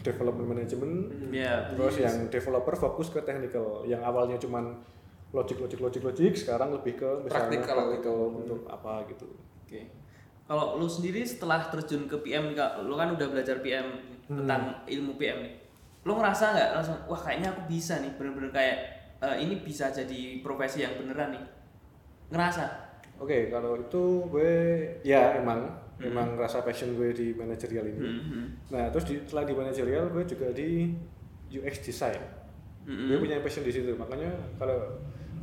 Speaker 1: development management
Speaker 4: Iya.
Speaker 1: terus yang developer fokus ke technical yang awalnya cuman logic logic logic logic sekarang lebih ke misalnya
Speaker 3: Practical.
Speaker 1: practical untuk apa gitu
Speaker 4: Oke. Kalau lu sendiri setelah terjun ke PM, Kak, lu kan udah belajar PM
Speaker 1: Hmm.
Speaker 4: tentang ilmu PM nih. Lu ngerasa nggak langsung, wah kayaknya aku bisa nih, bener-bener kayak eh, ini bisa jadi profesi yang beneran nih. Ngerasa?
Speaker 1: oke kalau itu gue ya emang emang rasa passion gue di manajerial ini
Speaker 4: Hmm.
Speaker 1: nah terus di, setelah di manajerial gue juga di UX design gue punya passion di situ makanya kalau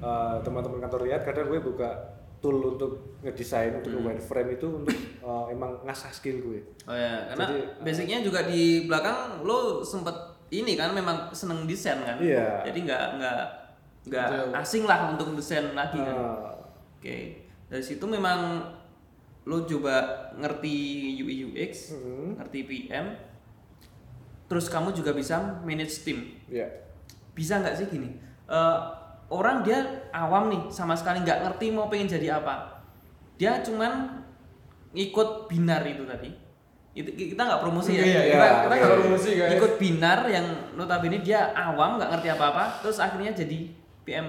Speaker 1: uh, teman-teman kantor lihat kadang gue buka tool untuk ngedesain untuk wireframe itu untuk uh, emang ngasah skill gue
Speaker 4: Oh ya, karena
Speaker 1: Jadi, eh,
Speaker 4: basicnya juga di belakang lu sempet ini kan memang seneng desain kan.
Speaker 1: Iya.
Speaker 4: Jadi nggak nggak nggak
Speaker 3: Jauh.
Speaker 4: asing lah untuk desain lagi kan.
Speaker 1: Uh,
Speaker 4: Oke, dari situ memang lo coba ngerti UI UX,
Speaker 3: Mm-hmm.
Speaker 1: Mhm.
Speaker 4: ngerti PM, terus kamu juga bisa manage tim.
Speaker 1: ya
Speaker 4: Bisa nggak sih gini? Eh, orang dia awam nih, sama sekali nggak ngerti mau pengen jadi apa. Dia cuman ikut binar itu tadi. Itu kita nggak promosi ya.
Speaker 3: Iya, iya,
Speaker 1: Iya,
Speaker 3: kita, kita
Speaker 1: oke.
Speaker 3: nggak promosi guys.
Speaker 4: Ikut binar yang notabene dia awam nggak ngerti apa-apa, terus akhirnya jadi PM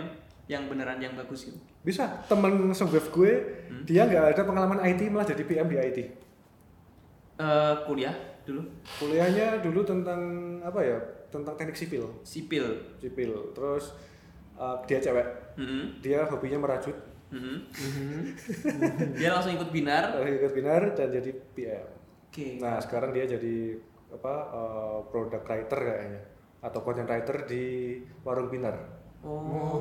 Speaker 4: yang beneran yang bagus gitu.
Speaker 1: bisa temen sebuah gue dia nggak ada pengalaman IT malah jadi PM di IT
Speaker 4: Eh, kuliah dulu.
Speaker 1: kuliahnya dulu tentang apa ya tentang teknik sipil
Speaker 4: sipil.
Speaker 1: sipil terus uh, dia cewek
Speaker 4: Mm-mm.
Speaker 1: dia hobinya merajut
Speaker 4: Mm-mm. Mm-hmm. Dia langsung ikut binar.
Speaker 1: lalu ikut binar dan jadi PM
Speaker 4: Oke.
Speaker 1: Nah sekarang dia jadi apa eh, product writer kayaknya atau content writer di warung Binar.
Speaker 4: Oh.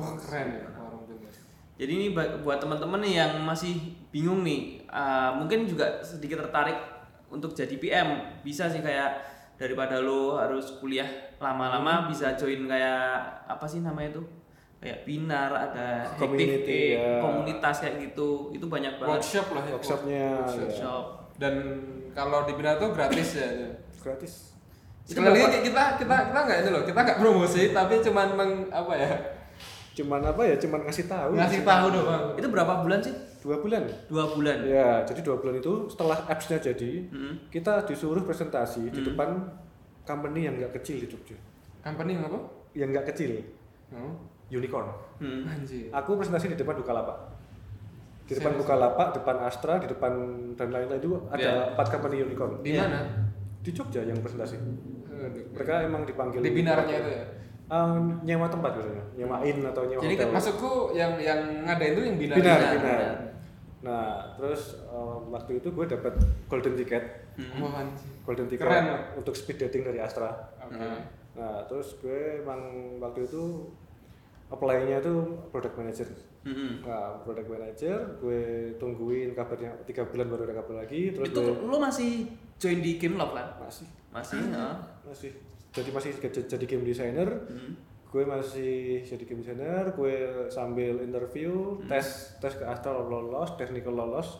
Speaker 3: Oh keren ya orang timnya.
Speaker 4: Jadi ini ba- buat teman-teman nih yang masih bingung nih, ah, mungkin juga sedikit tertarik untuk jadi PM. Bisa sih kayak daripada lo harus kuliah lama-lama bisa join kayak apa sih namanya itu? Kayak binar ada
Speaker 1: Community,
Speaker 4: active, eh,
Speaker 1: ya.
Speaker 4: komunitas kayak gitu. Itu banyak banget
Speaker 3: Workshop lah ya.
Speaker 1: Workshopnya ya,
Speaker 4: workshop.
Speaker 3: Dan kalau di Bina tuh gratis ya. tuh.
Speaker 1: gratis.
Speaker 4: Itu
Speaker 3: Sekali
Speaker 4: berapa?
Speaker 3: lagi kita kita kita nggak ini loh, kita nggak promosi, tapi cuman meng apa ya
Speaker 1: Cuman apa ya? Cuman ngasih tahu.
Speaker 3: ngasih tahu doang.
Speaker 4: Itu berapa bulan sih?
Speaker 1: Dua bulan.
Speaker 4: Dua bulan.
Speaker 1: Ya, jadi dua bulan itu setelah apps-nya jadi,
Speaker 4: Mm-mm.
Speaker 3: Hmm.
Speaker 1: kita disuruh presentasi di depan company yang nggak kecil di Jogja,
Speaker 3: Company yang apa?
Speaker 1: yang nggak kecil,
Speaker 3: Oh,
Speaker 1: Hmm. unicorn.
Speaker 4: Mm.
Speaker 3: anjir.
Speaker 1: Aku presentasi di depan Bukalapak. Di depan
Speaker 3: Serius?
Speaker 1: Bukalapak, depan Astra, di depan dan lain-lain itu ada empat company unicorn.
Speaker 3: Iya. Di mana?
Speaker 1: Di Jogja yang presentasi.
Speaker 3: Aduh.
Speaker 1: mereka emang dipanggil
Speaker 3: Di binarnya itu ya.
Speaker 1: Eh, nyewa tempat biasanya nyewain atau nyewa
Speaker 4: Jadi
Speaker 1: hotel
Speaker 3: Maksudku yang yang ngadain tuh yang kan binar.
Speaker 1: binar
Speaker 4: Binar,
Speaker 1: binar
Speaker 4: binar.
Speaker 1: nah terus eh, waktu itu gue dapat golden ticket
Speaker 3: Oh, anjir.
Speaker 1: Hmm. golden ticket
Speaker 3: Keren.
Speaker 1: untuk speed dating dari Astra
Speaker 3: Oke.
Speaker 1: Eh, Nah, terus gue emang waktu itu apply-nya itu product manager.
Speaker 4: Mm-mm.
Speaker 1: Nah, product manager gue tungguin kabarnya tiga bulan baru ada kabar lagi terus
Speaker 4: Itu
Speaker 1: gue
Speaker 4: lu masih join di game lo kan?
Speaker 1: masih
Speaker 4: Masih. ah. heeh.
Speaker 1: masih jadi masih ke- jadi game designer
Speaker 4: Hmm.
Speaker 1: gue masih jadi game designer gue sambil interview
Speaker 4: Hmm.
Speaker 1: tes tes ke Astra lolos technical lolos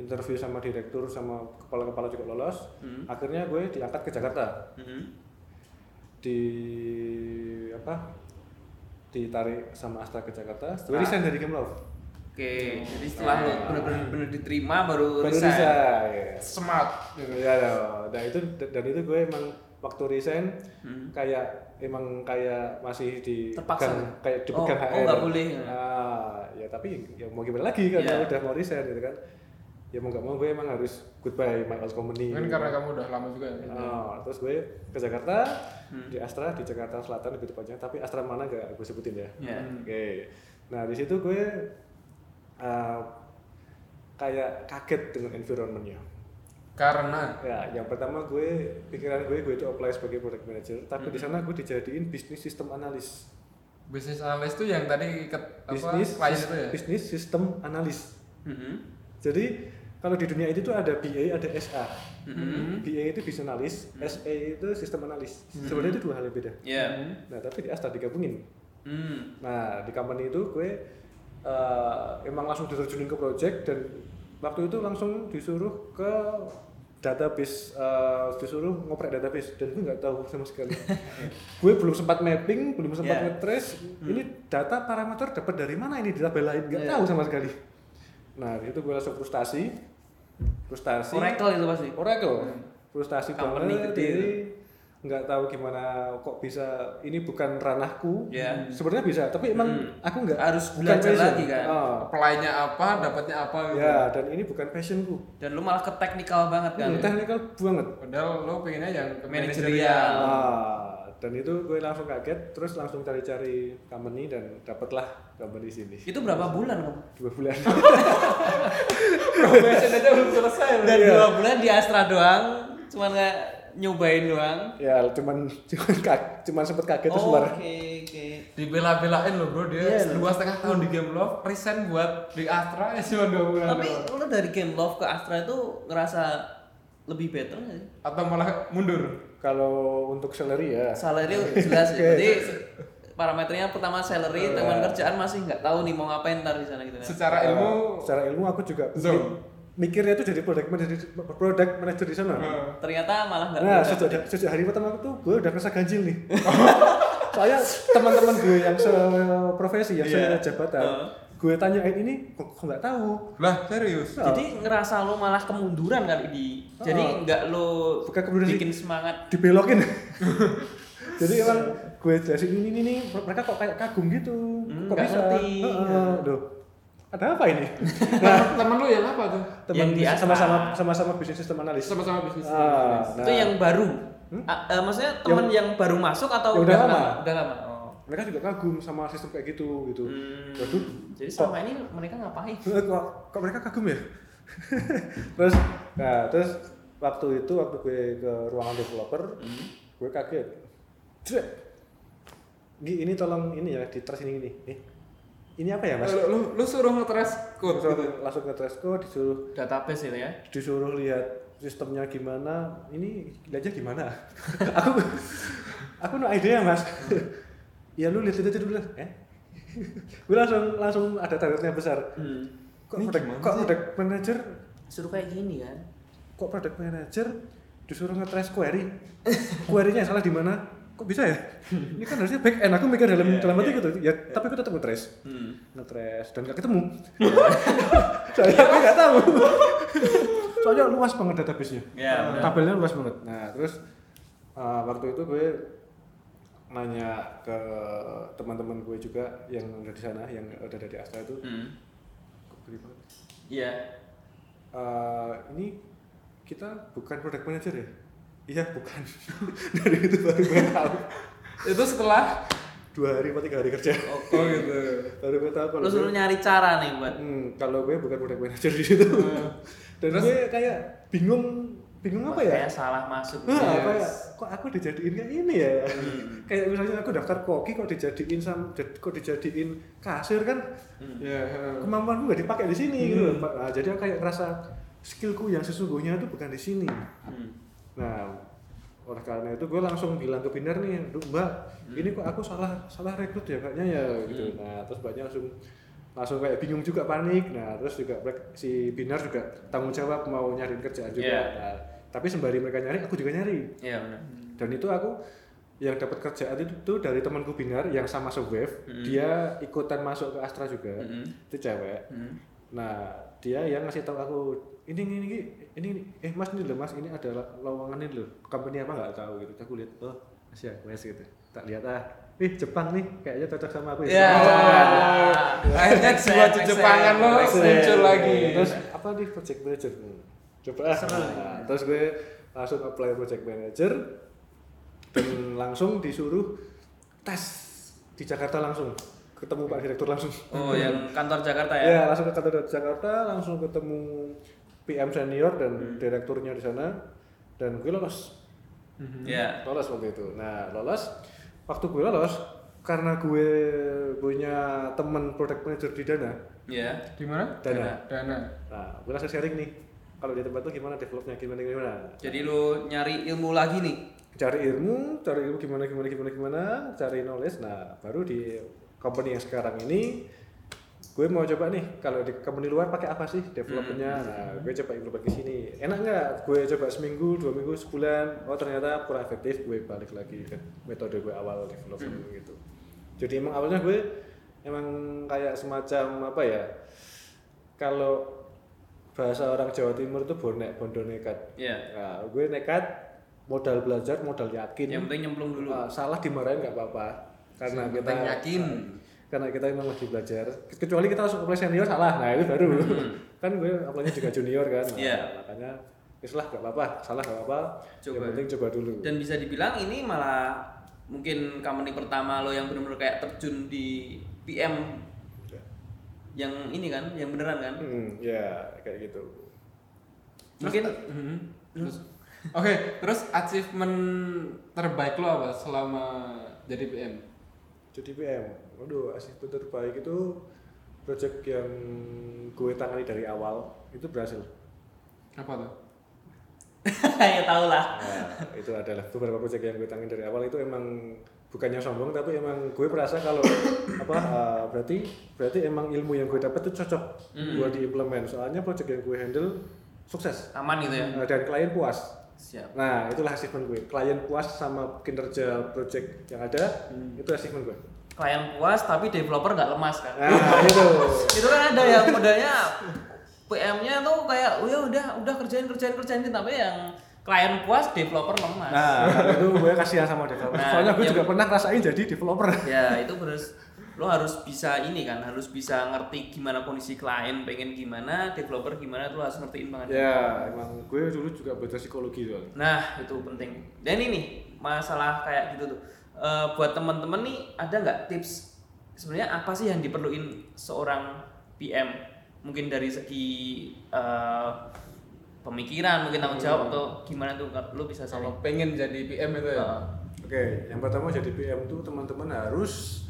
Speaker 1: interview sama direktur sama kepala kepala juga lolos
Speaker 4: Hmm.
Speaker 1: akhirnya gue diangkat ke Jakarta
Speaker 4: Mhm.
Speaker 1: di apa ditarik sama Astra ke Jakarta gue
Speaker 4: Ah.
Speaker 1: resign dari Game Love
Speaker 4: Oh, Oke, jadi setelah lu bener-bener bener diterima
Speaker 1: baru
Speaker 4: baru, resign.
Speaker 1: resign
Speaker 3: Smart.
Speaker 1: ya dong. Nah itu dan itu gue emang waktu resign
Speaker 4: Hmm.
Speaker 1: kayak emang kayak masih di
Speaker 4: Terpaksa.
Speaker 1: kayak dipegang
Speaker 4: Oh, oh,
Speaker 1: HR.
Speaker 4: nggak boleh.
Speaker 1: Ah, ya tapi ya mau gimana lagi karena
Speaker 4: Iya.
Speaker 1: udah mau resign gitu kan. Ya mau nggak mau gue emang harus goodbye my old company.
Speaker 3: Mungkin karena kamu udah lama juga ya.
Speaker 1: Ah, terus gue ke Jakarta
Speaker 4: Hmm.
Speaker 1: di Astra di Jakarta Selatan lebih tepatnya tapi Astra mana gak gue sebutin ya.
Speaker 4: Ya.
Speaker 1: Oke. Nah, di situ gue ah, kayak kaget dengan environmentnya.
Speaker 3: Karena
Speaker 1: Ya, yang pertama gue pikiran gue gue itu apply sebagai product manager, tapi
Speaker 3: Mm-hmm.
Speaker 1: di sana gue dijadiin bisnis sistem analis.
Speaker 3: bisnis analis itu yang tadi ke apa
Speaker 1: Bisnis
Speaker 3: klien itu ya.
Speaker 1: bisnis sistem analis.
Speaker 4: Mhm.
Speaker 1: Jadi kalau di dunia itu tuh ada BA, ada SA.
Speaker 3: Mm-hmm.
Speaker 1: BA itu bisnis analis, SA itu sistem analis. Sebenarnya itu dua hal yang beda.
Speaker 3: Iya.
Speaker 4: Ya.
Speaker 1: Nah, tapi di Asta digabungin.
Speaker 4: Hmm.
Speaker 1: Nah, di company itu gue eh, emang langsung diterjunin ke project dan waktu itu langsung disuruh ke database eh, disuruh ngoprek database dan gue nggak tahu sama sekali gue belum sempat mapping belum sempat
Speaker 4: Yeah.
Speaker 1: ngetrace ini data parameter dapat dari mana ini di tabel lain nggak
Speaker 4: Yeah.
Speaker 1: tahu sama sekali nah itu gue langsung frustasi frustasi
Speaker 4: Oracle itu pasti.
Speaker 1: Oracle frustasi
Speaker 4: Company
Speaker 1: banget
Speaker 4: gede
Speaker 1: jadi nggak tahu gimana kok bisa ini bukan ranahku
Speaker 4: Ya. Hmm.
Speaker 1: sebenarnya bisa tapi emang aku nggak
Speaker 4: Harus
Speaker 1: bukan
Speaker 4: belajar
Speaker 1: passion.
Speaker 4: lagi kan?
Speaker 1: Ah.
Speaker 3: Apply-nya apa, dapatnya apa gitu.
Speaker 1: ya dan ini bukan passionku
Speaker 4: Dan lu malah ke teknikal banget kan?
Speaker 1: hmm, technical banget
Speaker 3: Padahal lo pengennya yang ke
Speaker 4: Manajerial.
Speaker 1: Ah, dan itu gue langsung kaget terus langsung cari-cari company dan dapatlah company sini
Speaker 4: Itu berapa bulan kamu?
Speaker 1: dua bulan [LAUGHS]
Speaker 3: Profession aja belum selesai.
Speaker 4: Dan dua bulan di Astra doang, cuman nggak nyobain doang.
Speaker 1: ya cuman cuman kag- cuman sempet kaget terus
Speaker 4: Oh,
Speaker 1: marah.
Speaker 4: Oke, oke.
Speaker 3: Dibela-belain lo bro, dia
Speaker 4: Iya,
Speaker 3: dua setengah tahun di Game Love, resign buat di Astra ya cuma dua bulan
Speaker 4: Tapi
Speaker 3: doang.
Speaker 4: lu dari game Love ke Astra itu ngerasa lebih better nggak sih?
Speaker 3: Atau malah mundur.
Speaker 1: kalau untuk salary ya [LAUGHS]
Speaker 4: Salary jelas ya. Berarti parameternya pertama
Speaker 1: Iya.
Speaker 4: salary, teman kerjaan masih nggak tahu nih mau ngapain ntar di sana gitu ya.
Speaker 3: Secara ilmu
Speaker 1: Eh, Iya. secara ilmu aku juga
Speaker 3: Zone.
Speaker 1: mikirnya itu jadi product manager product manager di sana
Speaker 3: eh,
Speaker 4: Ternyata malah nggak
Speaker 1: Nah,
Speaker 4: better.
Speaker 1: sejak, sejak hari pertama tuh gue udah ngerasa ganjil nih.
Speaker 4: [LAUGHS]
Speaker 1: Soalnya teman-teman gue yang seprofesi, yang
Speaker 4: Iya.
Speaker 1: sejabatan,
Speaker 4: Heeh.
Speaker 1: gue tanyain ini kok kok nggak tahu.
Speaker 3: lah serius.
Speaker 1: Nah,
Speaker 4: Jadi ngerasa lu malah kemunduran kali di. Jadi
Speaker 1: Oh.
Speaker 4: nggak lu
Speaker 1: Bukan kemunduran sih.
Speaker 4: bikin semangat. [LAUGHS]
Speaker 1: dibelokin. Jadi emang
Speaker 4: Iya.
Speaker 1: gue jelasin ini ini nih, mereka kok kayak kagum gitu.
Speaker 4: Hmm,
Speaker 1: kok
Speaker 4: nggak ngerti.
Speaker 1: Heeh, Duh, ada apa ini?
Speaker 4: [LAUGHS]
Speaker 3: Nah, temen lu yang apa tuh?
Speaker 1: Teman
Speaker 4: Yang di
Speaker 1: bis-
Speaker 4: Astra.
Speaker 1: sama-sama sama-sama bisnis sistem analis.
Speaker 3: Sama-sama
Speaker 1: Ah,
Speaker 3: bisnis.
Speaker 1: nah, Hmm?
Speaker 4: Itu yang baru. A- eh, maksudnya teman yang, baru masuk atau
Speaker 1: Yang udah lama.
Speaker 4: Udah lama. oh.
Speaker 1: mereka juga kagum sama sistem kayak gitu gitu.
Speaker 4: Hmm.
Speaker 1: Waduh,
Speaker 4: Jadi
Speaker 3: ya?
Speaker 4: selama ini mereka ngapain?
Speaker 1: Eh, kok, kok mereka kagum ya? [LAUGHS] terus, nah terus waktu itu waktu gue ke ruangan developer,
Speaker 3: Hmm.
Speaker 1: gue kaget. Jrek. Gi, ini tolong ini ya di trust ini ini. Eh, ini apa ya mas?
Speaker 3: Eh, Lu, lu, lu suruh ngetres code
Speaker 1: Langsung,
Speaker 3: gitu.
Speaker 1: langsung ke Tresco disuruh
Speaker 4: Database itu ya.
Speaker 1: disuruh lihat sistemnya gimana. Ini aja gimana? aku aku no idea mas. ya lu lihat aja dulu lah. Eh? gue langsung langsung ada targetnya besar. Kok
Speaker 3: Ini
Speaker 1: product, kok
Speaker 3: gimana sih?
Speaker 1: product manager
Speaker 4: Suruh kayak gini kan.
Speaker 1: kok product manager disuruh nge-trace query query-nya yang salah di mana kok bisa ya ini kan harusnya back end aku mikir dalam
Speaker 4: Iya,
Speaker 1: dalam hati gitu ya tapi aku tetap nge-trace
Speaker 4: Hmm.
Speaker 1: nge-trace dan gak ketemu soalnya aku gak tahu soalnya luas banget database-nya Ah,
Speaker 4: Iya, benar.
Speaker 1: tabelnya luas banget nah terus eh, waktu itu gue nanya ke teman-teman gue juga yang ada di sana yang ada dari Astra itu
Speaker 4: Hmm.
Speaker 1: kok gede banget
Speaker 4: Iya.
Speaker 1: Eh, ini kita bukan product manager ya? Iya bukan. [LAUGHS] Dari itu baru gue tahu.
Speaker 3: Itu setelah
Speaker 1: Dua hari atau tiga hari kerja.
Speaker 4: Oke.
Speaker 3: Oh gitu.
Speaker 1: Baru gue tahu kalau
Speaker 4: Lu suruh
Speaker 1: gue,
Speaker 4: nyari cara nih buat
Speaker 1: [LAUGHS]
Speaker 4: Hmm.
Speaker 1: Hmm, kalau gue bukan product manager di situ. Dan gue kayak bingung bingung apa ya
Speaker 4: Makanya salah masuk. gitu
Speaker 1: Hah, apa ya?
Speaker 3: Yes.
Speaker 1: kok aku dijadiin kayak ini ya
Speaker 4: Hmm.
Speaker 1: [LAUGHS] kayak misalnya aku daftar koki kok dijadiin sam jad- kok dijadiin kasir kan
Speaker 4: Hmm.
Speaker 3: Ya,
Speaker 1: Iya.
Speaker 3: heeh.
Speaker 1: kemampuanku gak dipakai di sini gitu loh Pak. Nah, jadi aku kayak ngerasa skillku yang sesungguhnya itu bukan di sini
Speaker 4: Hmm.
Speaker 1: nah oleh karena itu gue langsung bilang ke Binar nih "Duh, mbak ini kok aku salah salah rekrut ya kayaknya ya gitu nah terus mbaknya langsung langsung kayak bingung juga panik nah terus juga mereka- si Binar juga tanggung jawab mau nyariin kerjaan juga
Speaker 4: Iya.
Speaker 1: Nah, tapi sembari mereka nyari aku juga nyari
Speaker 4: Iya benar.
Speaker 1: dan itu aku yang dapat kerjaan itu tuh dari temanku Binar yang sama sewave dia ikutan masuk ke Astra juga
Speaker 4: Mm-mm.
Speaker 1: itu cewek
Speaker 4: Hmm.
Speaker 1: nah dia yang ngasih tahu aku ini ini ini ini, ini. eh mas ini loh mas ini ada la- lowongan ini loh company apa nggak tahu gitu aku lihat oh Asia West gitu tak lihat ah ih Jepang nih kayaknya cocok sama aku Oh,
Speaker 3: Ya. Akhirnya
Speaker 4: Make
Speaker 3: jiwa
Speaker 4: sense, make
Speaker 3: Jepangan
Speaker 4: sense,
Speaker 3: lo
Speaker 4: make sense.
Speaker 3: muncul lagi.
Speaker 1: Iya. terus apa nih project manager Hmm, coba ah. Nah, terus gue langsung apply project manager dan langsung disuruh tes di Jakarta langsung ketemu Pak Direktur langsung
Speaker 4: Oh, yang kantor Jakarta ya?
Speaker 1: ya langsung ke kantor Jakarta langsung ketemu PM senior dan direkturnya di sana dan gue lolos
Speaker 4: Iya.
Speaker 1: lolos waktu itu nah lolos waktu gue lolos karena gue punya temen product manager di Dana
Speaker 4: Iya.
Speaker 3: Di mana?
Speaker 1: Dana
Speaker 3: Dana.
Speaker 1: nah gue langsung sharing nih kalau di tempat tuh gimana developnya gimana gimana
Speaker 4: Jadi lu nyari ilmu lagi nih.
Speaker 1: cari ilmu cari ilmu gimana gimana gimana gimana cari knowledge nah baru di company yang sekarang ini gue mau coba nih kalau di company luar pakai apa sih developernya nah gue coba implement ke sini enak nggak gue coba seminggu dua minggu sebulan oh ternyata kurang efektif gue balik lagi ke metode gue awal development gitu jadi emang awalnya gue emang kayak semacam apa ya kalau bahasa orang Jawa Timur itu bonek bondo nekat
Speaker 4: Iya.
Speaker 1: Nah, gue nekat modal belajar, modal yakin.
Speaker 4: Yang penting nyemplung dulu.
Speaker 1: Ah, salah dimarahin nggak apa-apa. Karena
Speaker 3: Yang
Speaker 1: kita
Speaker 3: penting yakin.
Speaker 1: Karena kita memang lagi belajar. Kecuali kita langsung apply senior salah. Nah, itu baru. kan gue apply-nya juga junior kan. Nah,
Speaker 4: Hmm. Iya.
Speaker 1: makanya wis lah nggak apa-apa, salah nggak apa-apa. Yang
Speaker 4: Coba.
Speaker 1: penting coba dulu.
Speaker 4: Dan bisa dibilang ini malah mungkin company pertama lo yang benar-benar kayak terjun di PM yang ini kan, yang beneran kan?
Speaker 1: Hmm, ya kayak gitu.
Speaker 4: Mungkin
Speaker 1: mm-hmm.
Speaker 3: Terus, Oke, terus achievement terbaik lo apa selama jadi PM?
Speaker 1: Jadi PM. Waduh, asisten terbaik itu project yang gue tangani dari awal itu berhasil.
Speaker 3: Apa tuh?
Speaker 4: [LAUGHS] ya tau lah.
Speaker 1: Nah, itu adalah beberapa proyek yang gue tangin dari awal itu emang bukannya sombong tapi emang gue merasa kalau [COUGHS] apa uh, berarti berarti emang ilmu yang gue dapat itu cocok buat diimplement soalnya proyek yang gue handle sukses
Speaker 4: Aman gitu ya.
Speaker 1: Nah, dan klien puas
Speaker 4: Siap.
Speaker 1: nah itulah achievement gue klien puas sama kinerja proyek yang ada
Speaker 4: Mm.
Speaker 1: itu achievement gue
Speaker 4: Klien puas tapi developer nggak lemas kan?
Speaker 1: nah itu
Speaker 4: itu kan ada ya modelnya PM-nya tuh kayak "Oh ya udah udah kerjain kerjain kerjain tapi yang klien puas developer lemas
Speaker 1: nah itu gue kasihan sama developer
Speaker 4: Nah,
Speaker 1: soalnya gue
Speaker 4: yang-
Speaker 1: juga pernah ngerasain jadi developer [LAUGHS]
Speaker 4: ya itu harus lo harus bisa ini kan harus bisa ngerti gimana kondisi klien pengen gimana developer gimana tuh lo harus ngertiin banget
Speaker 1: ya emang gue dulu juga belajar psikologi soalnya
Speaker 4: nah itu penting dan ini masalah kayak gitu tuh Eh, buat teman-teman nih ada nggak tips sebenarnya apa sih yang diperluin seorang PM mungkin dari segi eh, pemikiran mungkin tanggung
Speaker 1: Hmm.
Speaker 4: jawab atau gimana tuh lo bisa sharing?
Speaker 3: Kalau pengen jadi PM itu ya?
Speaker 4: Eh,
Speaker 1: Oke, yang pertama jadi PM tuh teman-teman harus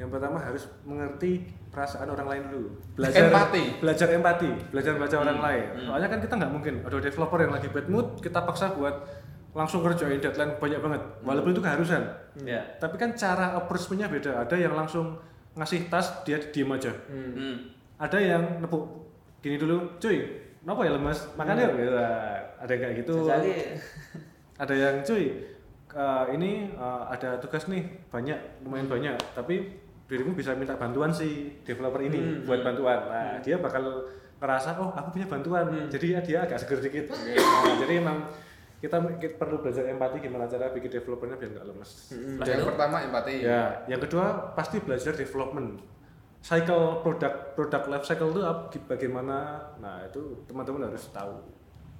Speaker 1: yang pertama harus mengerti perasaan orang lain dulu.
Speaker 3: Empati.
Speaker 1: Belajar empati, belajar baca orang
Speaker 4: Hmm.
Speaker 1: lain. Soalnya kan kita nggak mungkin ada developer yang lagi bad mood, kita paksa buat langsung kerjain deadline banyak banget.
Speaker 4: Hmm.
Speaker 1: Walaupun itu keharusan.
Speaker 4: ya
Speaker 1: Tapi kan cara approach-nya beda. Ada yang langsung ngasih tas dia diem aja.
Speaker 4: Hmm.
Speaker 1: Ada yang nepuk gini dulu, cuy. Kenapa ya lemas? Makan yuk. Gitu. Ada yang kayak gitu
Speaker 4: Hmm. Jadi-
Speaker 1: ada yang cuy eh, ini eh, ada tugas nih banyak lumayan banyak tapi dirimu bisa minta bantuan si developer ini buat bantuan nah dia bakal ngerasa oh aku punya bantuan jadi ya dia agak seger dikit Nah, jadi emang kita, kita perlu belajar empati gimana cara bikin developernya biar nggak lemes
Speaker 3: Hmm,
Speaker 4: Setelah
Speaker 3: Yang
Speaker 4: itu?
Speaker 3: pertama empati.
Speaker 1: Nah, ya yang kedua pasti belajar development cycle produk produk life cycle itu ap- bagaimana nah itu teman-teman harus tahu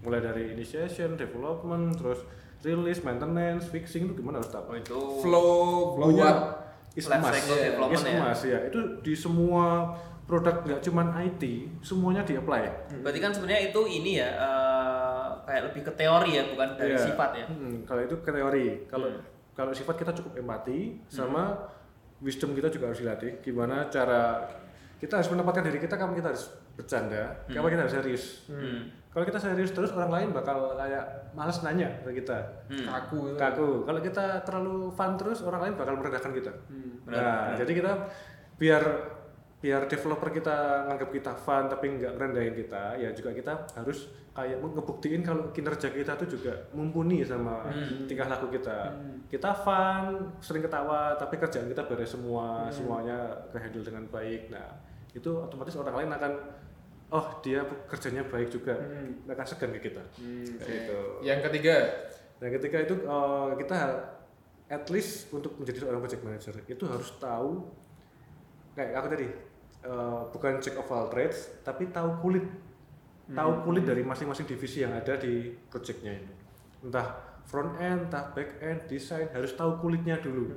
Speaker 1: mulai dari initiation development terus release maintenance fixing itu gimana harus
Speaker 4: Oh,
Speaker 1: tahu
Speaker 4: itu
Speaker 3: Flow buat
Speaker 1: is
Speaker 4: life
Speaker 1: must.
Speaker 4: cycle
Speaker 1: Iya, is
Speaker 4: development ya.
Speaker 1: must, ya. itu di semua produk nggak cuman IT semuanya di apply
Speaker 4: berarti kan sebenarnya itu ini ya eh, kayak lebih ke teori ya bukan dari
Speaker 1: Iya.
Speaker 4: sifat ya Hmm.
Speaker 1: Mm, kalau itu ke teori. Kalau kalau sifat kita cukup empati sama wisdom kita juga harus dilatih. Gimana cara kita harus menempatkan diri kita kapan kita harus bercanda, kapan kita harus serius.
Speaker 4: Hmm.
Speaker 1: Kalau kita serius terus orang lain bakal kayak malas nanya ke kita.
Speaker 4: Hmm.
Speaker 3: kaku itu.
Speaker 1: Kaku. Kalau kita terlalu fun terus orang lain bakal merendahkan kita.
Speaker 4: Benar,
Speaker 1: nah, jadi kita biar biar developer kita nganggap kita fun tapi nggak merendahin kita ya juga kita harus kayak ngebuktiin kalau kinerja kita tuh juga mumpuni sama tingkah laku kita kita fun sering ketawa tapi kerjaan kita beres semua semuanya kehandle dengan baik nah itu otomatis orang lain akan oh dia kerjanya baik juga mereka segan ke kita
Speaker 3: Hmm,
Speaker 1: Kayak gitu
Speaker 3: Yang ketiga,
Speaker 1: Nah, ketika itu eh, kita har- at least untuk menjadi seorang project manager itu harus tahu kayak aku tadi eh, bukan check of all trades tapi tahu kulit tahu kulit dari masing-masing divisi yang ada di projectnya itu entah front end entah back end desain harus tahu kulitnya dulu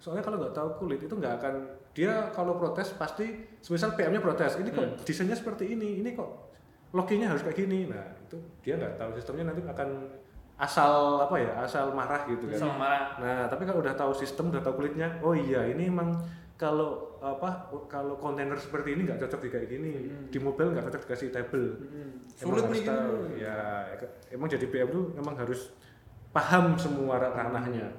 Speaker 1: soalnya kalau nggak tahu kulit itu nggak akan dia kalau protes pasti semisal PM-nya protes ini kok desainnya seperti ini ini kok loginya harus kayak gini nah itu dia nggak tahu sistemnya nanti akan asal apa ya asal marah gitu kan
Speaker 4: sama marah
Speaker 1: nah tapi kalau udah tahu sistem udah tahu kulitnya oh iya ini emang kalau apa kalau kontainer seperti ini nggak cocok di kayak gini
Speaker 4: Hmm.
Speaker 1: di mobile nggak cocok dikasih table
Speaker 3: Sulit
Speaker 1: harus
Speaker 3: nih gitu. gini.
Speaker 4: gitu.
Speaker 1: tahu. ya emang jadi PM tuh emang harus paham semua ranahnya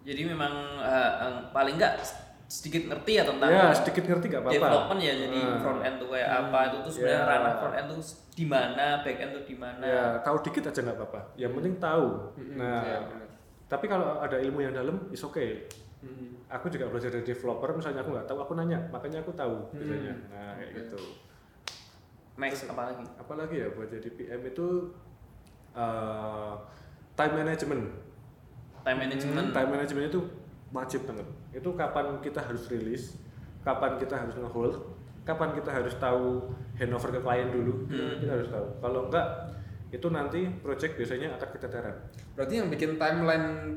Speaker 4: jadi memang eh, eh, paling nggak sedikit ngerti ya tentang
Speaker 1: ya sedikit ngerti nggak apa-apa
Speaker 4: development ya jadi
Speaker 1: Ah.
Speaker 4: front end tuh kayak apa itu tuh sebenarnya
Speaker 1: Ya.
Speaker 4: ranah front end tuh di mana back end tuh di mana
Speaker 1: ya tahu dikit aja nggak apa-apa yang penting tahu nah
Speaker 3: Hmm. ya, benar.
Speaker 1: tapi kalau ada ilmu yang dalam is okay
Speaker 3: Hmm.
Speaker 1: aku juga belajar dari developer misalnya aku nggak tahu aku nanya makanya aku tahu
Speaker 3: Hmm.
Speaker 1: biasanya nah kayak gitu
Speaker 4: next apa lagi
Speaker 1: apalagi ya buat jadi PM itu eh, time management
Speaker 4: time management
Speaker 1: Hmm,
Speaker 3: Hmm.
Speaker 1: time management itu wajib banget itu kapan kita harus rilis kapan kita harus ngehold kapan kita harus tahu handover ke klien dulu
Speaker 3: Hmm.
Speaker 1: kita harus tahu kalau enggak itu nanti project biasanya akan keteteran
Speaker 3: berarti yang bikin timeline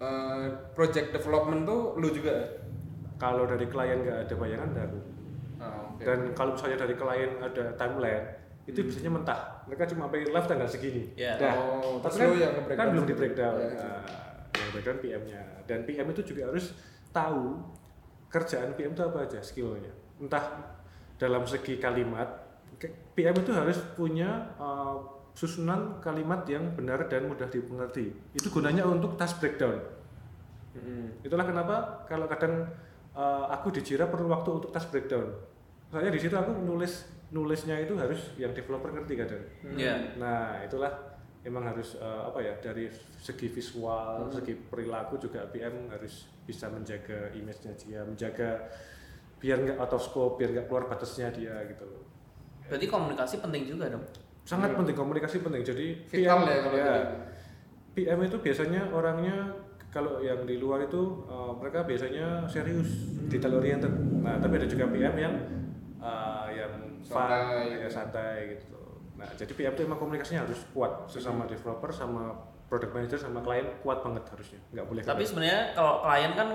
Speaker 3: eh, project development tuh lu juga. ya?
Speaker 1: kalau dari klien nggak ada bayangan dari
Speaker 3: Ah, oke. Hmm.
Speaker 1: dan kalau misalnya dari klien ada timeline itu biasanya mentah mereka cuma pengen live tanggal segini
Speaker 4: Ya.
Speaker 1: Dah.
Speaker 3: Oh,
Speaker 1: tapi
Speaker 3: terus
Speaker 1: kan,
Speaker 3: lu yang nge-breakdown
Speaker 1: kan belum di
Speaker 3: sendiri.
Speaker 1: breakdown
Speaker 3: Ya,
Speaker 1: Nah, yang breakdown PM-nya dan PM itu juga harus tahu kerjaan PM itu apa aja skillnya entah dalam segi kalimat ke- PM itu harus punya uh, susunan kalimat yang benar dan mudah dimengerti itu gunanya untuk task breakdown
Speaker 3: Hmm.
Speaker 1: Itulah kenapa kalau kadang eh, aku dikira perlu waktu untuk task breakdown. Soalnya di situ aku nulis nulisnya itu harus yang developer ngerti kadang.
Speaker 4: ya
Speaker 1: Nah, itulah emang harus eh, apa ya dari segi visual, segi perilaku juga PM harus bisa menjaga image-nya dia, menjaga biar nggak out of scope, biar nggak keluar batasnya dia gitu loh.
Speaker 4: berarti komunikasi penting juga dong
Speaker 1: Sangat penting komunikasi penting. Jadi
Speaker 3: Hmm. Vital ya kalau
Speaker 1: ya,
Speaker 3: gitu.
Speaker 1: PM itu biasanya orangnya kalau yang di luar itu eh, mereka biasanya serius,
Speaker 3: Hmm.
Speaker 1: detail oriented. Nah, tapi ada juga PM yang eh, yang fun,
Speaker 3: Santai.
Speaker 1: ya santai gitu. Nah, jadi PM itu emang komunikasinya harus kuat sesama
Speaker 3: Hmm.
Speaker 1: developer sama product manager sama klien kuat banget harusnya. Nggak boleh.
Speaker 4: tapi
Speaker 1: kalah.
Speaker 4: sebenarnya kalau klien kan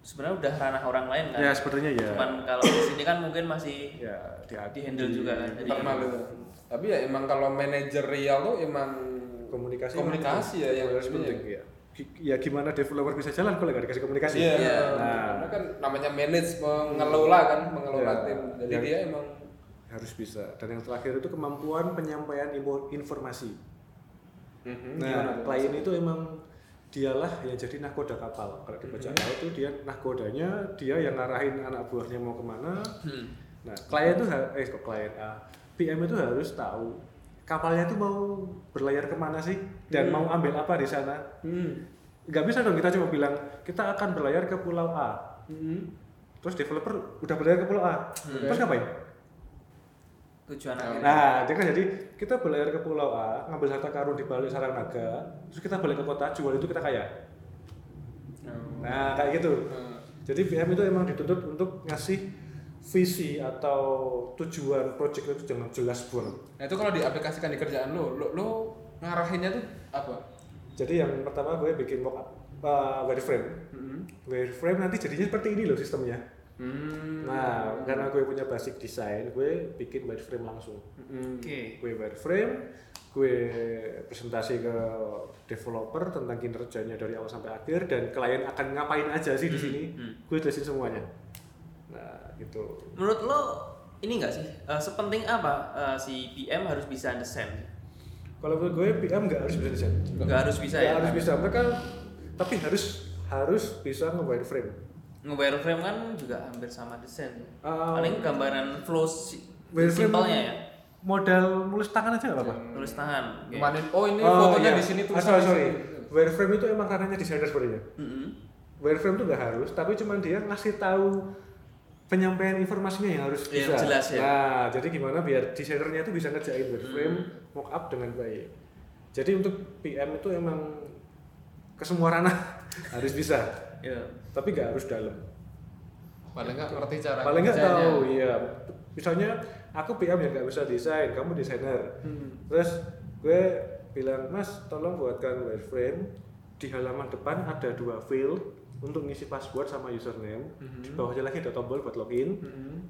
Speaker 4: sebenarnya udah ranah orang lain kan
Speaker 1: ya sepertinya ya.
Speaker 4: cuman kalau di sini kan mungkin masih
Speaker 1: ya di,
Speaker 4: di handle juga kan jadi
Speaker 3: Internal itu. Tapi ya emang kalau manajerial tuh emang
Speaker 1: komunikasi
Speaker 3: komunikasi ya yang
Speaker 1: harus
Speaker 3: ininya.
Speaker 1: penting ya. Gi- Ya gimana developer bisa jalan kalau nggak dikasih komunikasi?
Speaker 3: Iya.
Speaker 4: Iya.
Speaker 1: Nah.
Speaker 3: Karena kan namanya manage mengelola kan, mengelola
Speaker 1: Iya.
Speaker 3: tim. Jadi
Speaker 1: Yang-
Speaker 3: dia emang
Speaker 1: harus bisa dan yang terakhir itu kemampuan penyampaian info- informasi
Speaker 3: Hmm, gimana
Speaker 1: nah
Speaker 3: tuh?
Speaker 1: klien itu emang dialah yang jadi nahkoda kapal kalau
Speaker 3: Hmm.
Speaker 1: dibaca laut itu dia nahkodanya dia yang ngarahin anak buahnya mau kemana
Speaker 4: Hmm.
Speaker 1: nah klien itu har- eh kok klien ah, PM itu harus tahu kapalnya itu mau berlayar kemana sih
Speaker 3: Hmm.
Speaker 1: dan mau ambil apa di sana nggak bisa dong kita cuma bilang kita akan berlayar ke pulau A
Speaker 3: Hmm.
Speaker 1: terus developer udah berlayar ke pulau A terus ngapain
Speaker 4: tujuan akhir
Speaker 1: Nah, dia kan jadi kita berlayar ke Pulau A, ngambil harta karun di balik sarang naga, terus kita balik ke kota, jual itu kita kaya. Nah, kayak gitu. Jadi PM itu emang dituntut untuk ngasih visi atau tujuan project itu jangan jelas banget.
Speaker 3: Nah itu kalau diaplikasikan di kerjaan lo, lo, lo ngarahinnya tuh apa?
Speaker 1: Jadi yang pertama gue bikin mockup uh, wireframe. Wireframe nanti jadinya seperti ini loh sistemnya.
Speaker 3: Hmm.
Speaker 1: Nah,
Speaker 3: Hmm.
Speaker 1: karena gue punya basic desain, gue bikin wireframe langsung.
Speaker 4: oke
Speaker 1: Gue wireframe, gue presentasi ke developer tentang kinerjanya dari awal sampai akhir dan klien akan ngapain aja sih di
Speaker 3: Hmm,
Speaker 1: sini gue jelasin semuanya nah gitu
Speaker 4: Menurut lo ini nggak sih eh, sepenting apa eh, si PM harus bisa understand?
Speaker 1: kalau menurut gue PM nggak harus bisa desain
Speaker 4: Nggak harus bisa
Speaker 1: Nggak
Speaker 4: ya?
Speaker 1: harus bisa mereka tapi harus harus bisa nge wireframe
Speaker 4: Nge-wireframe kan juga hampir sama desain.
Speaker 1: Um,
Speaker 4: Paling gambaran flow si-
Speaker 1: wireframe-
Speaker 4: simpelnya ya,
Speaker 1: modal nulis tangan aja nggak apa
Speaker 4: tulis tangan. oke.
Speaker 3: Kemarin, oh ini fotonya di sini tulisannya
Speaker 1: iya. Ah, sorry,
Speaker 3: di
Speaker 1: sorry.
Speaker 3: sini.
Speaker 1: wireframe itu emang ranahnya desainer sebenarnya
Speaker 4: Mm-mm.
Speaker 1: wireframe tuh nggak harus tapi cuman dia ngasih tahu penyampaian informasinya yang harus
Speaker 4: Iya,
Speaker 1: bisa
Speaker 4: jelas ya. Hmm.
Speaker 1: nah jadi gimana biar desainernya itu bisa ngerjain wireframe mock up dengan baik jadi untuk PM itu emang ke semua ranah [LAUGHS] harus bisa
Speaker 4: Ya.
Speaker 1: tapi nggak harus dalam
Speaker 3: Paling nggak ngerti cara
Speaker 1: paling nggak
Speaker 3: kerjanya.
Speaker 1: tahu iya misalnya aku PM yang nggak bisa desain kamu desainer
Speaker 4: Hmm.
Speaker 1: terus gue bilang mas tolong buatkan wireframe di halaman depan ada dua field untuk ngisi password sama username di
Speaker 4: Hmm.
Speaker 1: bawahnya lagi ada tombol buat login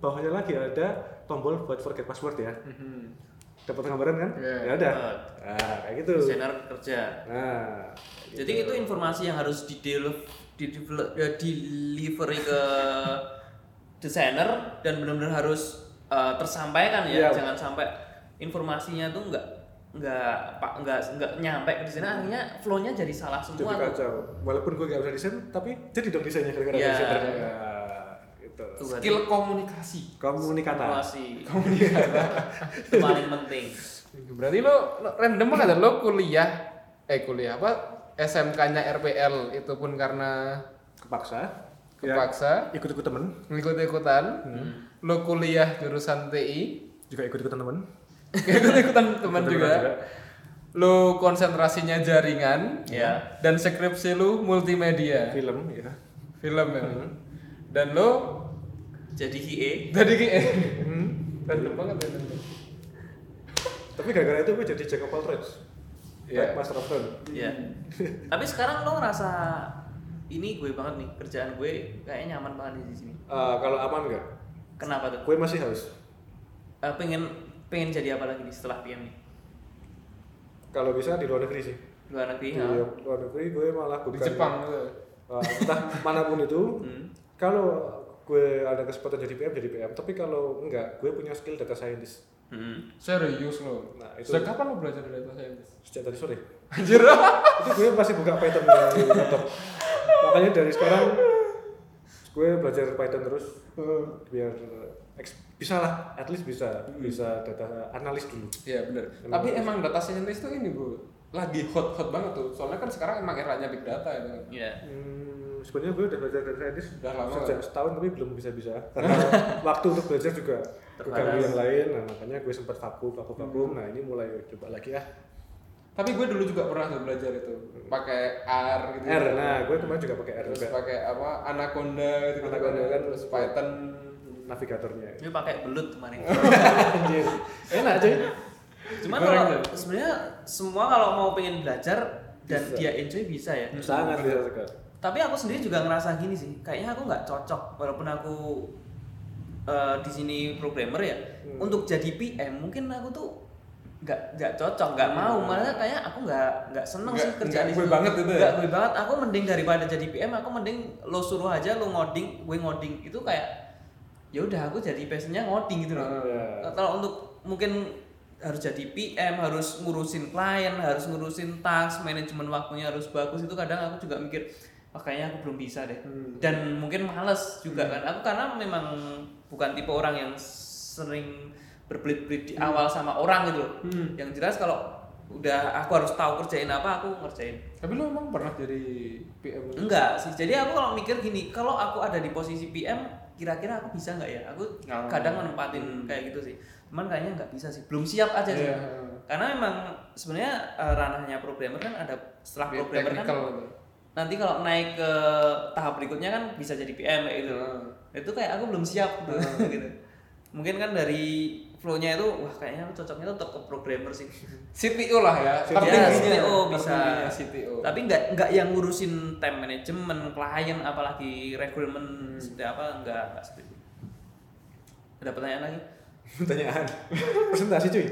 Speaker 1: bawahnya lagi ada tombol buat forget password ya
Speaker 3: Mhm.
Speaker 1: dapat gambaran kan
Speaker 3: Iya.
Speaker 1: ya udah
Speaker 4: Dapat.
Speaker 1: nah kayak gitu
Speaker 4: Desainer kerja.
Speaker 1: nah
Speaker 4: Jadi itu informasi yang harus di ya, delivery ke [LAUGHS] desainer dan benar-benar harus uh, tersampaikan ya.
Speaker 1: Iya.
Speaker 4: Jangan sampai informasinya tuh nggak nggak pak nggak nggak nyampe ke desainer akhirnya flow-nya jadi salah
Speaker 1: jadi
Speaker 4: semua tuh.
Speaker 1: kacau walaupun gue nggak bisa desain tapi jadi dong desainnya gara-gara
Speaker 4: Iya.
Speaker 1: desainer Nah, gitu
Speaker 4: Tuh, berarti
Speaker 3: Skill komunikasi.
Speaker 1: komunikata
Speaker 4: informasi itu paling penting.
Speaker 3: Berarti lo, lo random banget ya, lo kuliah eh kuliah apa SMK-nya RPL itu pun karena
Speaker 1: kepaksa Ya,
Speaker 3: Iya. kepaksa Hmm.
Speaker 1: ikut-ikut temen Hmm.
Speaker 3: ngikut-ikutan. Lo kuliah jurusan [LAUGHS] TI,
Speaker 1: juga ikut-ikutan temen
Speaker 3: ikut-ikutan teman
Speaker 1: Ikut-ikutan
Speaker 3: juga.
Speaker 1: juga.
Speaker 3: Lo konsentrasinya jaringan
Speaker 4: Ya.
Speaker 3: dan skripsi lo multimedia,
Speaker 1: film ya
Speaker 3: film ya. Dan lo Hmm?
Speaker 4: Jadi QA
Speaker 3: jadi [LAUGHS] kayak random banget ya. random.
Speaker 1: tapi gara-gara itu gue jadi Jack of all trades
Speaker 3: Iya.
Speaker 1: yeah. Master of None
Speaker 4: ya. Tapi sekarang lo ngerasa ini gue banget nih kerjaan gue kayaknya nyaman banget di sini.
Speaker 1: Eh, kalau aman nggak
Speaker 4: Kenapa tuh?
Speaker 1: gue masih haus
Speaker 4: Eh, pengen pengen jadi apa lagi nih setelah PM nih
Speaker 1: kalau bisa di luar negeri sih
Speaker 4: luar negeri
Speaker 1: di
Speaker 4: ya
Speaker 1: luar negeri gue malah
Speaker 3: Iya. Di
Speaker 1: bukan
Speaker 3: Jepang Hmm. gitu.
Speaker 1: Eh,
Speaker 3: [LAUGHS]
Speaker 1: entah manapun itu kalau gue ada kesempatan jadi PM jadi PM tapi kalau enggak gue punya skill data scientist
Speaker 4: hmm.
Speaker 3: Serius lo.
Speaker 1: Nah, itu-
Speaker 3: Sejak kapan lo belajar dari bahasa Inggris?
Speaker 1: sejak tadi sore
Speaker 3: Anjir.
Speaker 1: [LAUGHS] itu gue masih buka Python di laptop makanya dari sekarang gue belajar Python terus biar eks- bisa lah at least bisa bisa data analis dulu
Speaker 3: Iya benar.
Speaker 1: Emang
Speaker 3: Tapi emang data scientist tuh ini bro, lagi hot hot banget tuh. Soalnya kan sekarang emang eranya big data ya. kan?
Speaker 4: ya
Speaker 1: hmm, sebenarnya gue udah belajar data analis
Speaker 3: Udah lama
Speaker 1: sejak setahun tapi belum bisa bisa [LAUGHS] karena waktu untuk belajar juga keganggu yang lain nah makanya gue sempat vakum vakum vakum nah ini mulai coba lagi ah
Speaker 3: Tapi gue dulu juga pernah tuh belajar itu, pakai R gitu.
Speaker 1: R nah gue kemarin juga pakai R
Speaker 3: Terus
Speaker 1: juga
Speaker 3: pakai apa Anaconda gitu.
Speaker 1: Anaconda kan.
Speaker 3: terus Python.
Speaker 1: navigatornya
Speaker 4: gue pakai belut
Speaker 1: [LAUGHS]
Speaker 4: kemarin
Speaker 1: Anjir. enak cuy
Speaker 4: cuman
Speaker 3: Goreng
Speaker 4: kalau
Speaker 3: tuh.
Speaker 4: sebenarnya semua kalau mau pengen belajar dan
Speaker 1: Bisa.
Speaker 4: dia enjoy bisa ya
Speaker 1: sangat bisa sekali
Speaker 4: tapi aku sendiri juga ngerasa gini sih kayaknya aku nggak cocok walaupun aku eh, di sini programmer ya
Speaker 1: Hmm.
Speaker 4: untuk jadi PM mungkin aku tuh nggak nggak cocok nggak mau malah kayak aku nggak nggak seneng
Speaker 3: Hmm. Nggak-
Speaker 4: sih kerjaan
Speaker 3: nggak
Speaker 4: di
Speaker 3: gue
Speaker 4: sini.
Speaker 3: banget itu ya?
Speaker 4: nggak gue banget aku mending daripada jadi PM aku mending lo suruh aja lo ngoding gue ngoding itu kayak ya udah aku jadi passionnya ngoding gitu
Speaker 3: Hmm.
Speaker 4: loh
Speaker 1: Iya.
Speaker 4: kalau untuk mungkin harus jadi PM, harus ngurusin klien, harus ngurusin task, manajemen waktunya harus bagus itu kadang aku juga mikir "Wah, kayaknya aku belum bisa deh. Dan mungkin males juga kan. Aku karena memang bukan tipe orang yang sering berbelit-belit di awal sama orang gitu loh. Yang jelas kalau udah aku harus tahu kerjain apa, aku ngerjain.
Speaker 3: Tapi lo emang pernah jadi PM? gitu?
Speaker 4: Enggak sih. Jadi aku kalau mikir gini, kalau aku ada di posisi PM, kira-kira aku bisa nggak ya? Aku
Speaker 3: Oh.
Speaker 4: kadang menempatin kayak gitu sih. Cuman kayaknya nggak bisa sih. Belum siap aja sih.
Speaker 3: Iya.
Speaker 4: Karena memang sebenarnya eh, ranahnya programmer kan ada setelah
Speaker 3: Lebih
Speaker 4: programmer kan
Speaker 3: Technical. gitu.
Speaker 4: nanti kalau naik ke tahap berikutnya kan bisa jadi PM kayak gitu.
Speaker 3: Hmm.
Speaker 4: Itu kayak aku belum siap tuh, [LAUGHS] gitu. Mungkin kan dari flow-nya itu wah kayaknya aku cocoknya tetap ke programmer sih.
Speaker 3: [LAUGHS] CTO lah ya.
Speaker 1: Ya,
Speaker 4: Ya,
Speaker 3: tertingginya,
Speaker 4: CTO bisa.
Speaker 3: tertingginya CTO.
Speaker 4: Tapi nggak nggak yang ngurusin time management, klien, apalagi recruitment, seperti apa nggak nggak seperti itu. Ada pertanyaan lagi?
Speaker 1: pertanyaan presentasi cuy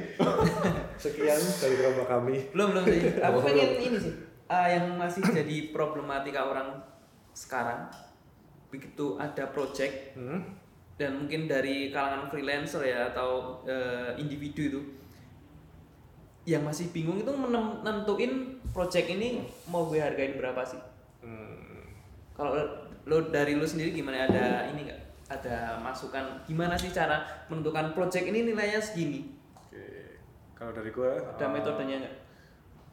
Speaker 1: sekian dari drama kami
Speaker 4: belum belum sih aku
Speaker 1: Belum,
Speaker 4: pengen
Speaker 1: belum.
Speaker 4: ini sih ah, yang masih jadi problematika orang sekarang begitu ada project
Speaker 1: hmm?
Speaker 4: dan mungkin dari kalangan freelancer ya atau eh, individu itu yang masih bingung itu menem- nentuin project ini mau gue hargain berapa sih
Speaker 1: Hmm.
Speaker 4: kalau lo dari lo sendiri gimana ada ini nggak ada masukan gimana sih cara menentukan project ini nilainya segini
Speaker 1: oke kalau dari gue
Speaker 4: ada
Speaker 1: eh,
Speaker 4: metodenya nggak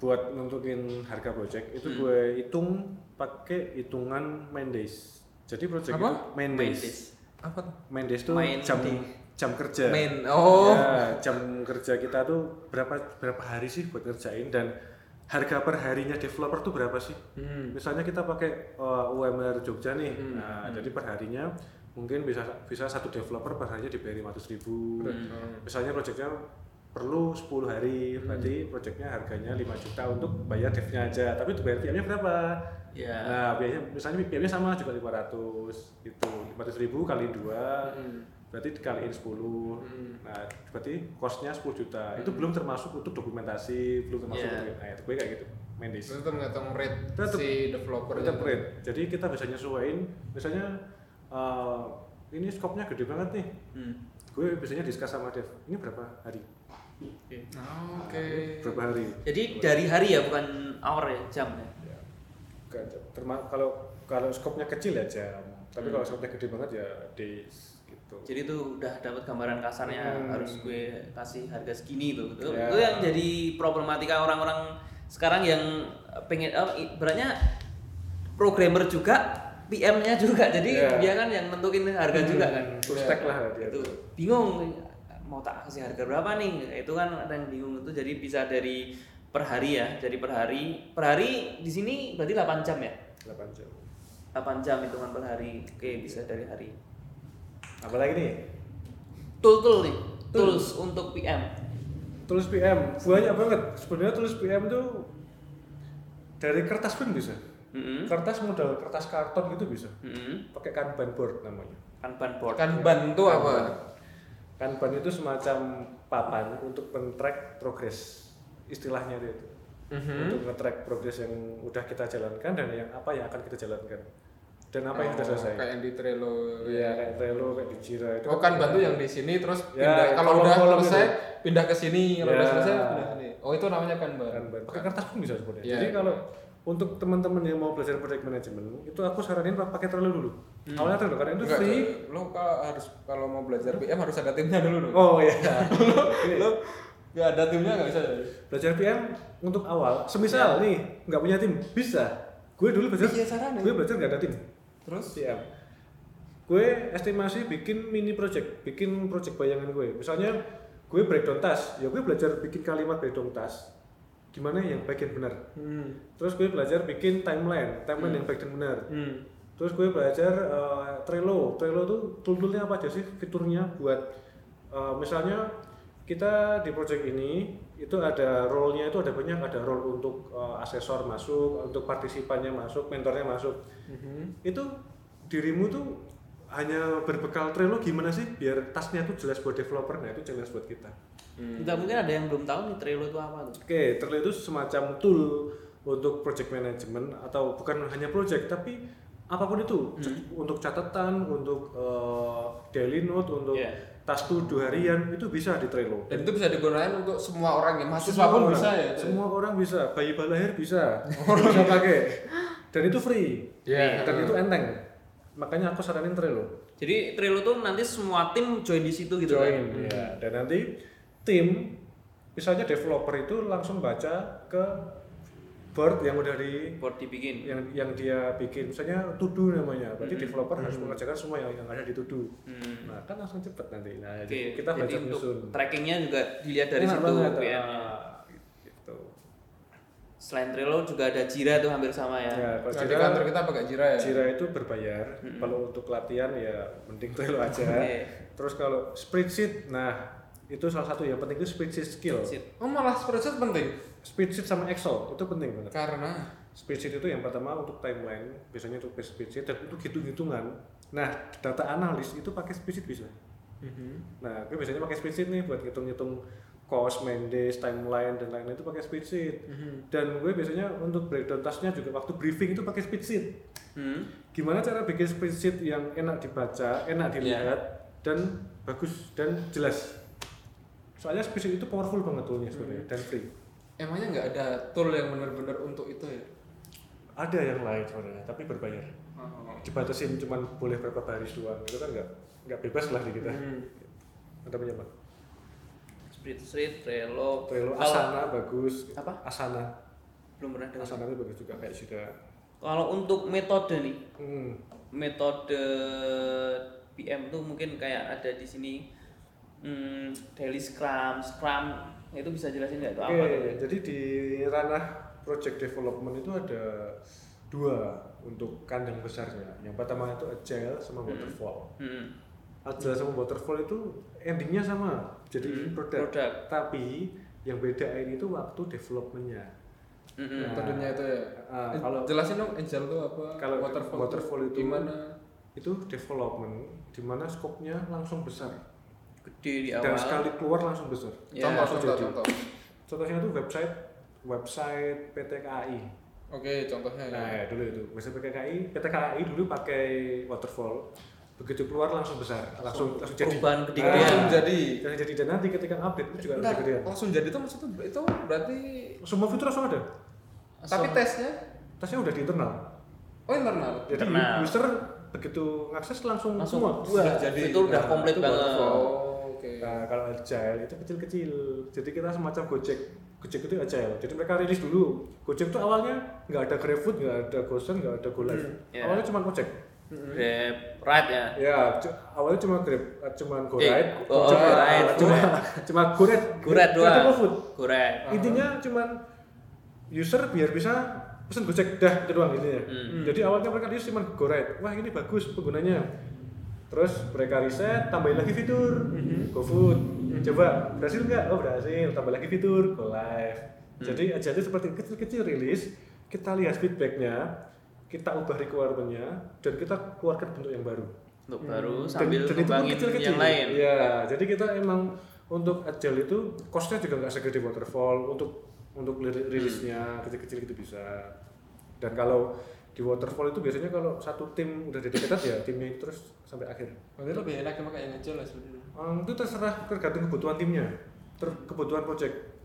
Speaker 1: buat nentuin harga project itu gue hitung pakai hitungan main days jadi project
Speaker 3: Apa?
Speaker 1: itu main days
Speaker 4: Main days.
Speaker 3: Apa tuh?
Speaker 1: main days tuh
Speaker 4: Main
Speaker 1: jam
Speaker 4: day.
Speaker 1: jam kerja
Speaker 3: Main. Oh.
Speaker 1: Ya, jam kerja kita tuh berapa berapa hari sih buat ngerjain dan harga per harinya developer tuh berapa sih
Speaker 3: Hmm.
Speaker 1: misalnya kita pakai uh, UMR Jogja nih nah jadi per harinya mungkin bisa bisa satu developer per harinya dibayar 500.000 ribu misalnya proyeknya perlu 10 hari berarti proyeknya harganya 5 juta untuk bayar devnya aja tapi untuk bayar PM-nya berapa
Speaker 4: ya
Speaker 1: nah biayanya misalnya PM-nya sama juga 500 gitu 500 ribu kali dua berarti dikaliin 10 nah berarti costnya 10 juta itu belum termasuk untuk dokumentasi belum termasuk
Speaker 4: Iya.
Speaker 1: untuk nah itu gue kayak gitu Mendes
Speaker 3: Itu tetap ngitung rate
Speaker 1: Tetep.
Speaker 3: si developer
Speaker 1: kita print jadi kita bisa nyesuaiin misalnya eh, ini skopnya gede banget nih
Speaker 4: Hmm.
Speaker 1: gue biasanya diskus sama Dev ini berapa hari
Speaker 3: Ah, Oke.
Speaker 1: berapa hari
Speaker 4: Jadi dari hari ya bukan hour ya jam ya.
Speaker 1: Ya. Ke- terma- kalau kalau skopnya kecil ya jam tapi kalau skopnya gede banget ya days gitu
Speaker 4: Hmm. Jadi itu udah dapat gambaran kasarnya
Speaker 1: Hmm.
Speaker 4: harus gue kasih harga segini tuh. Itu,
Speaker 1: Ya.
Speaker 4: itu yang jadi problematika orang-orang sekarang yang pengen oh, i- beratnya programmer juga, PM-nya juga. Jadi
Speaker 1: Ya. Hmm.
Speaker 4: dia kan yang nentuin harga juga kan.
Speaker 1: full stack lah dia
Speaker 4: Itu bingung mau tak kasih harga berapa nih? Itu kan ada yang bingung itu jadi bisa dari per hari ya. Jadi per hari, per hari di sini berarti 8 jam ya.
Speaker 1: 8 jam
Speaker 4: 8 jam hitungan per hari. Oke, bisa dari hari.
Speaker 1: apalagi nih
Speaker 4: Tool-tool nih, tools untuk PM.
Speaker 1: tulis PM banyak banget sebenarnya tulis PM tuh dari kertas pun bisa
Speaker 4: Mm-mm.
Speaker 1: kertas modal kertas karton gitu bisa
Speaker 4: Mm-mm.
Speaker 1: pakai kanban board namanya
Speaker 4: Kanban board.
Speaker 3: Kan ban tuh apa?
Speaker 1: kanban itu semacam papan untuk men-track progres istilahnya itu
Speaker 3: Mhm.
Speaker 1: untuk nge-track progres yang udah kita jalankan dan yang apa yang akan kita jalankan dan apa yang sudah
Speaker 3: Oh,
Speaker 1: selesai
Speaker 3: Kayak yang di Trello. ya.
Speaker 1: Iya, kayak Trello, kayak di Jira itu.
Speaker 3: Oh kan bantu yang di sini terus
Speaker 1: Ya,
Speaker 3: pindah kalau udah
Speaker 1: kolom-kolom
Speaker 3: selesai
Speaker 1: itu.
Speaker 3: pindah ke sini, kalau udah
Speaker 1: Ya.
Speaker 3: selesai pindah ke sini. Oh itu namanya kan ban.
Speaker 1: Kanban. Pakai kertas pun bisa sebenarnya.
Speaker 3: Iya.
Speaker 1: Jadi kalau untuk teman-teman yang mau belajar project management, itu aku saranin pak- pakai Trello dulu. Awalnya Trello karena itu
Speaker 3: Hmm. Enggak,
Speaker 1: free.
Speaker 3: lo kalau harus kalau mau belajar PM harus ada timnya dulu dong.
Speaker 1: Oh
Speaker 3: [LAUGHS]
Speaker 1: iya.
Speaker 3: lo nggak ada timnya nggak bisa.
Speaker 1: belajar PM untuk awal, semisal nih nggak punya tim, bisa. Gue dulu belajar,
Speaker 3: Iya, saranin.
Speaker 1: gue belajar nggak ada tim.
Speaker 3: Terus
Speaker 1: PM. Gue estimasi bikin mini project, bikin project bayangan gue. Misalnya gue breakdown task, ya gue belajar bikin kalimat breakdown task. Gimana yang baik yang benar.
Speaker 3: Hmm.
Speaker 1: Terus gue belajar bikin timeline, timeline yang baik dan benar.
Speaker 3: Hmm.
Speaker 1: Terus gue belajar eh, Trello. Trello tuh tool-toolnya apa aja sih? Fiturnya buat eh, misalnya kita di project ini itu ada role-nya itu ada banyak, ada role untuk eh, asesor masuk, untuk partisipannya masuk, mentornya masuk. Itu dirimu tuh hanya berbekal Trello gimana sih biar tasknya tuh jelas buat developer, nah itu jelas buat kita.
Speaker 4: Entah Mm. mungkin ada yang belum tahu nih Trello itu apa gitu. tuh.
Speaker 1: Oke, Trello itu semacam tool untuk project management atau bukan hanya project tapi apapun itu C-
Speaker 3: Hmm.
Speaker 1: untuk catatan, untuk eh, daily note, untuk
Speaker 4: Iya.
Speaker 1: task to do harian itu bisa di Trello.
Speaker 3: Dan itu bisa digunakan untuk semua orang ya, mahasiswa
Speaker 1: Semua
Speaker 3: pun
Speaker 1: orang-
Speaker 3: bisa ya.
Speaker 1: Semua orang bisa, bayi balahir
Speaker 3: [LAUGHS]
Speaker 1: bisa, orang bisa pakai. Dan itu free.
Speaker 3: Iya.
Speaker 1: Dan itu enteng. Makanya aku saranin Trello.
Speaker 4: Jadi Trello tuh nanti semua tim join di situ gitu
Speaker 1: join
Speaker 3: Hmm.
Speaker 4: kan.
Speaker 1: ya dan nanti tim misalnya developer itu langsung baca ke board yang udah di
Speaker 4: Board dibikin.
Speaker 1: yang yang dia bikin misalnya to do namanya berarti
Speaker 4: Mm-hmm.
Speaker 1: developer harus mengerjakan semua yang, yang ada di to do
Speaker 4: Hmm.
Speaker 1: nah kan langsung cepet nanti nah
Speaker 4: Oke.
Speaker 1: jadi kita
Speaker 4: Jadi
Speaker 1: belajar
Speaker 4: untuk
Speaker 1: nyusun
Speaker 4: trackingnya juga dilihat dari
Speaker 1: Enak
Speaker 4: situ ya.
Speaker 1: banget,
Speaker 4: PM.
Speaker 1: ah, gitu
Speaker 4: Selain Trello juga ada Jira tuh hampir sama ya.
Speaker 1: ya kalau
Speaker 3: Nah, di
Speaker 1: Jira
Speaker 3: kantor kita pakai Jira ya.
Speaker 1: Jira itu berbayar kalau untuk latihan ya mending
Speaker 4: [LAUGHS]
Speaker 1: Trello aja
Speaker 4: Mm-hmm. Oke.
Speaker 1: terus kalau spreadsheet nah itu salah satu yang penting itu spreadsheet skill
Speaker 4: Sip.
Speaker 3: Oh malah spreadsheet penting
Speaker 1: spreadsheet sama Excel itu penting banget
Speaker 3: karena
Speaker 1: spreadsheet itu yang pertama untuk timeline biasanya untuk spreadsheet dan untuk hitung-hitungan nah data analis itu pakai spreadsheet bisa Nah, gue biasanya pakai spreadsheet nih buat ngitung-ngitung cost, main days, timeline dan lain-lain itu pakai spreadsheet. Dan gue biasanya untuk breakdown tasknya juga waktu briefing itu pakai spreadsheet.
Speaker 4: Hmm.
Speaker 1: Gimana cara bikin spreadsheet yang enak dibaca, enak dilihat dan bagus dan jelas. Soalnya spreadsheet itu powerful banget toolnya sebenarnya dan free.
Speaker 3: Emangnya nggak ada tool yang benar-benar untuk itu ya?
Speaker 1: Ada yang lain sebenarnya, tapi berbayar.
Speaker 4: Oh,
Speaker 1: Dibatasin cuman boleh berapa baris doang. Itu kan nggak nggak bebas lah di kita.
Speaker 4: Hmm.
Speaker 3: Hmm.
Speaker 1: Anda punya apa?
Speaker 4: Street Street Trello.
Speaker 1: Trello,
Speaker 4: Kalau-
Speaker 1: Asana bagus.
Speaker 4: Apa?
Speaker 1: Asana.
Speaker 4: Belum pernah dengar.
Speaker 1: Asana itu bagus juga kayak juga.
Speaker 4: Kalau untuk metode nih,
Speaker 1: Hmm.
Speaker 4: metode PM tuh mungkin kayak ada di sini hmm, daily scrum, scrum itu bisa jelasin nggak itu
Speaker 1: Oke, iya,
Speaker 4: apa? tuh?
Speaker 1: jadi di ranah project development itu ada dua untuk kandang besarnya. Yang pertama itu agile sama waterfall.
Speaker 4: Hmm.
Speaker 1: Agile sama waterfall itu endingnya sama, jadi
Speaker 4: Hmm,
Speaker 1: produk.
Speaker 4: produk.
Speaker 1: Tapi yang beda ini itu waktu developmentnya.
Speaker 4: Mm-mm.
Speaker 1: Nah,
Speaker 3: Metodenya itu ya.
Speaker 1: ah,
Speaker 3: Eh,
Speaker 1: kalau-
Speaker 3: jelasin dong agile itu apa?
Speaker 1: Kalau
Speaker 3: waterfall,
Speaker 1: waterfall itu-
Speaker 3: gimana?
Speaker 1: Itu development di mana skopnya langsung besar
Speaker 4: Gede di awal.
Speaker 1: dan sekali keluar langsung besar.
Speaker 4: Ya,
Speaker 3: contoh,
Speaker 1: langsung
Speaker 3: contoh,
Speaker 1: jadi.
Speaker 3: contoh.
Speaker 1: Contohnya itu website website PT KAI.
Speaker 3: Oke,
Speaker 4: Iya.
Speaker 3: contohnya ya.
Speaker 1: Nah, ya, dulu itu. Biasa pakai KI, PT KAI dulu pakai waterfall. Begitu keluar langsung besar, langsung langsung jadi.
Speaker 4: Perubahan
Speaker 3: Nah,
Speaker 4: ketinggian.
Speaker 3: langsung jadi.
Speaker 1: Langsung jadi dan nanti ketika update itu juga
Speaker 3: Bentar,
Speaker 1: langsung gedean.
Speaker 3: langsung jadi itu maksudnya itu berarti
Speaker 1: Semua fitur langsung ada.
Speaker 3: tapi tesnya
Speaker 1: Tesnya udah di internal.
Speaker 3: oh internal.
Speaker 1: Jadi
Speaker 4: Internal.
Speaker 1: user begitu ngakses langsung,
Speaker 4: Langsung
Speaker 1: semua.
Speaker 4: sudah jadi. Itu udah
Speaker 1: Nah,
Speaker 4: komplit
Speaker 1: itu
Speaker 4: banget.
Speaker 1: waterfall.
Speaker 3: Oh, oke.
Speaker 1: Nah, kalau agile itu kecil-kecil. Jadi kita semacam Gojek. Gojek itu agile. Jadi mereka rilis dulu. Gojek itu awalnya nggak ada GrabFood, nggak ada GoSend, nggak ada GoLive.
Speaker 4: Hmm, iya.
Speaker 1: Awalnya cuma Gojek.
Speaker 4: Grab ride ya.
Speaker 1: Ya, cu- awalnya cuma Grab, eh, cuma Go
Speaker 4: Eh,
Speaker 1: Ride,
Speaker 4: oh,
Speaker 1: cuma,
Speaker 4: Go Ride,
Speaker 1: [LAUGHS] cuma,
Speaker 4: Go
Speaker 1: cuma Go Ride, Nggak
Speaker 4: Gurat
Speaker 1: ada
Speaker 4: doang.
Speaker 1: GoFood.
Speaker 4: Gurat.
Speaker 1: Intinya cuma user biar bisa pesen Gojek dah itu doang intinya. Jadi awalnya mereka dia cuma Go Ride. Wah, ini bagus penggunanya. Terus mereka riset, tambahin lagi fitur GoFood. Coba berhasil nggak? Oh berhasil. Tambah lagi fitur Go Live. Jadi aja itu seperti kecil-kecil rilis, kita lihat feedbacknya, kita ubah requirement-nya, dan kita keluarkan bentuk yang baru
Speaker 4: Untuk baru
Speaker 1: Hmm. dan-
Speaker 4: sambil
Speaker 1: dan itu pun
Speaker 4: ngembangin
Speaker 1: kecil-kecil.
Speaker 4: yang lain.
Speaker 1: Iya, jadi kita emang untuk agile itu costnya juga nggak segede waterfall untuk untuk
Speaker 4: Hmm.
Speaker 1: li- rilisnya kecil-kecil gitu bisa. Dan kalau di waterfall itu biasanya kalau satu tim udah dedicated ya timnya itu terus sampai akhir.
Speaker 3: Berarti lebih enak emang kayak agile lah sebenarnya.
Speaker 1: Em, itu terserah tergantung kebutuhan timnya, ter- kebutuhan project.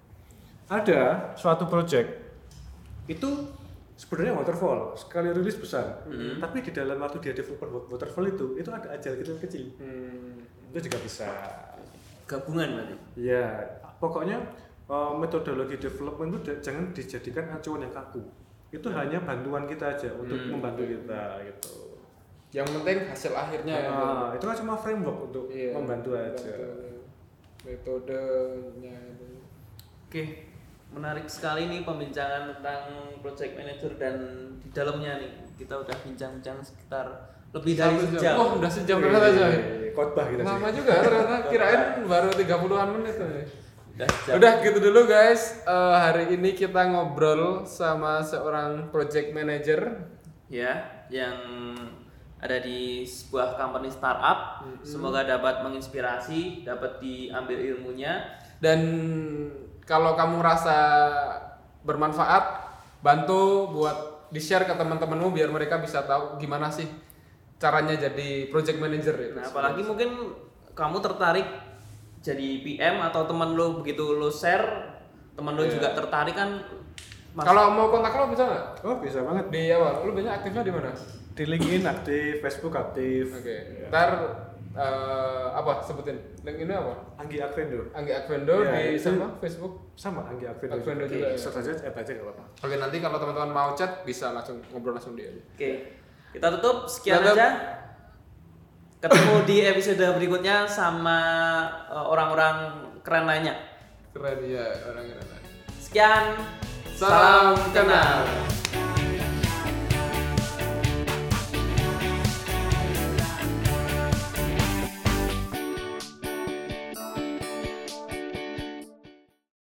Speaker 1: Ada suatu project itu sebenarnya waterfall sekali rilis besar,
Speaker 4: Hmm.
Speaker 1: tapi di dalam waktu dia development waterfall itu itu ada ajal kecil-kecil
Speaker 3: Hmm.
Speaker 1: itu juga bisa
Speaker 4: Gabungan berarti.
Speaker 1: ya pokoknya eh, metodologi development itu da- jangan dijadikan acuan yang kaku itu
Speaker 3: Ya.
Speaker 1: hanya bantuan kita aja untuk
Speaker 3: Hmm.
Speaker 1: membantu kita gitu
Speaker 3: Yang penting hasil akhirnya ya.
Speaker 1: Nah, itu kan cuma framework untuk
Speaker 3: Iya,
Speaker 1: membantu aja
Speaker 3: membantu. Metodenya itu.
Speaker 4: Oke, menarik sekali nih pembincangan tentang project manager dan di dalamnya nih kita udah bincang-bincang sekitar lebih dari
Speaker 3: Satu
Speaker 4: sejam.
Speaker 3: Oh, udah sejam ternyata coy.
Speaker 1: Eh, khotbah kita
Speaker 3: Lama
Speaker 1: sih
Speaker 3: juga ternyata kirain baru 30-an menit coy.
Speaker 4: Udah sejam.
Speaker 3: Udah gitu dulu guys. Eh, hari ini kita ngobrol sama seorang project manager.
Speaker 4: Ya, yang ada di sebuah company startup.
Speaker 1: Hmm.
Speaker 4: Semoga dapat menginspirasi, dapat diambil ilmunya.
Speaker 3: Dan kalau kamu rasa bermanfaat, bantu buat di-share ke teman-temanmu biar mereka bisa tahu gimana sih caranya jadi project manager. itu.
Speaker 4: Nah, apalagi mungkin kamu tertarik jadi PM atau teman lo begitu lo share, teman
Speaker 1: Iya.
Speaker 4: lo juga tertarik kan Mas-
Speaker 3: Kalau mau kontak lo bisa nggak?
Speaker 1: oh bisa banget
Speaker 3: Di apa? Lu biasanya aktifnya di mana?
Speaker 1: di LinkedIn aktif Facebook aktif
Speaker 3: Oke. Ntar eh, apa sebutin? Link ini apa?
Speaker 1: Anggi Akvendo
Speaker 3: Anggi Advendo
Speaker 4: Ya,
Speaker 1: Iya,
Speaker 3: di
Speaker 1: itu-
Speaker 3: sama Facebook.
Speaker 1: sama Anggi Akvendo
Speaker 3: Akvendo
Speaker 1: Oke,
Speaker 3: juga, ya.
Speaker 1: search aja add aja nggak apa-apa
Speaker 3: Oke nanti kalau teman-teman mau chat bisa langsung ngobrol langsung dia.
Speaker 4: Oke, kita tutup sekian
Speaker 3: Tutup.
Speaker 4: aja. Ketemu di episode berikutnya sama eh, orang-orang keren lainnya.
Speaker 3: Keren ya orang-orang.
Speaker 4: Sekian,
Speaker 3: Salam kenal.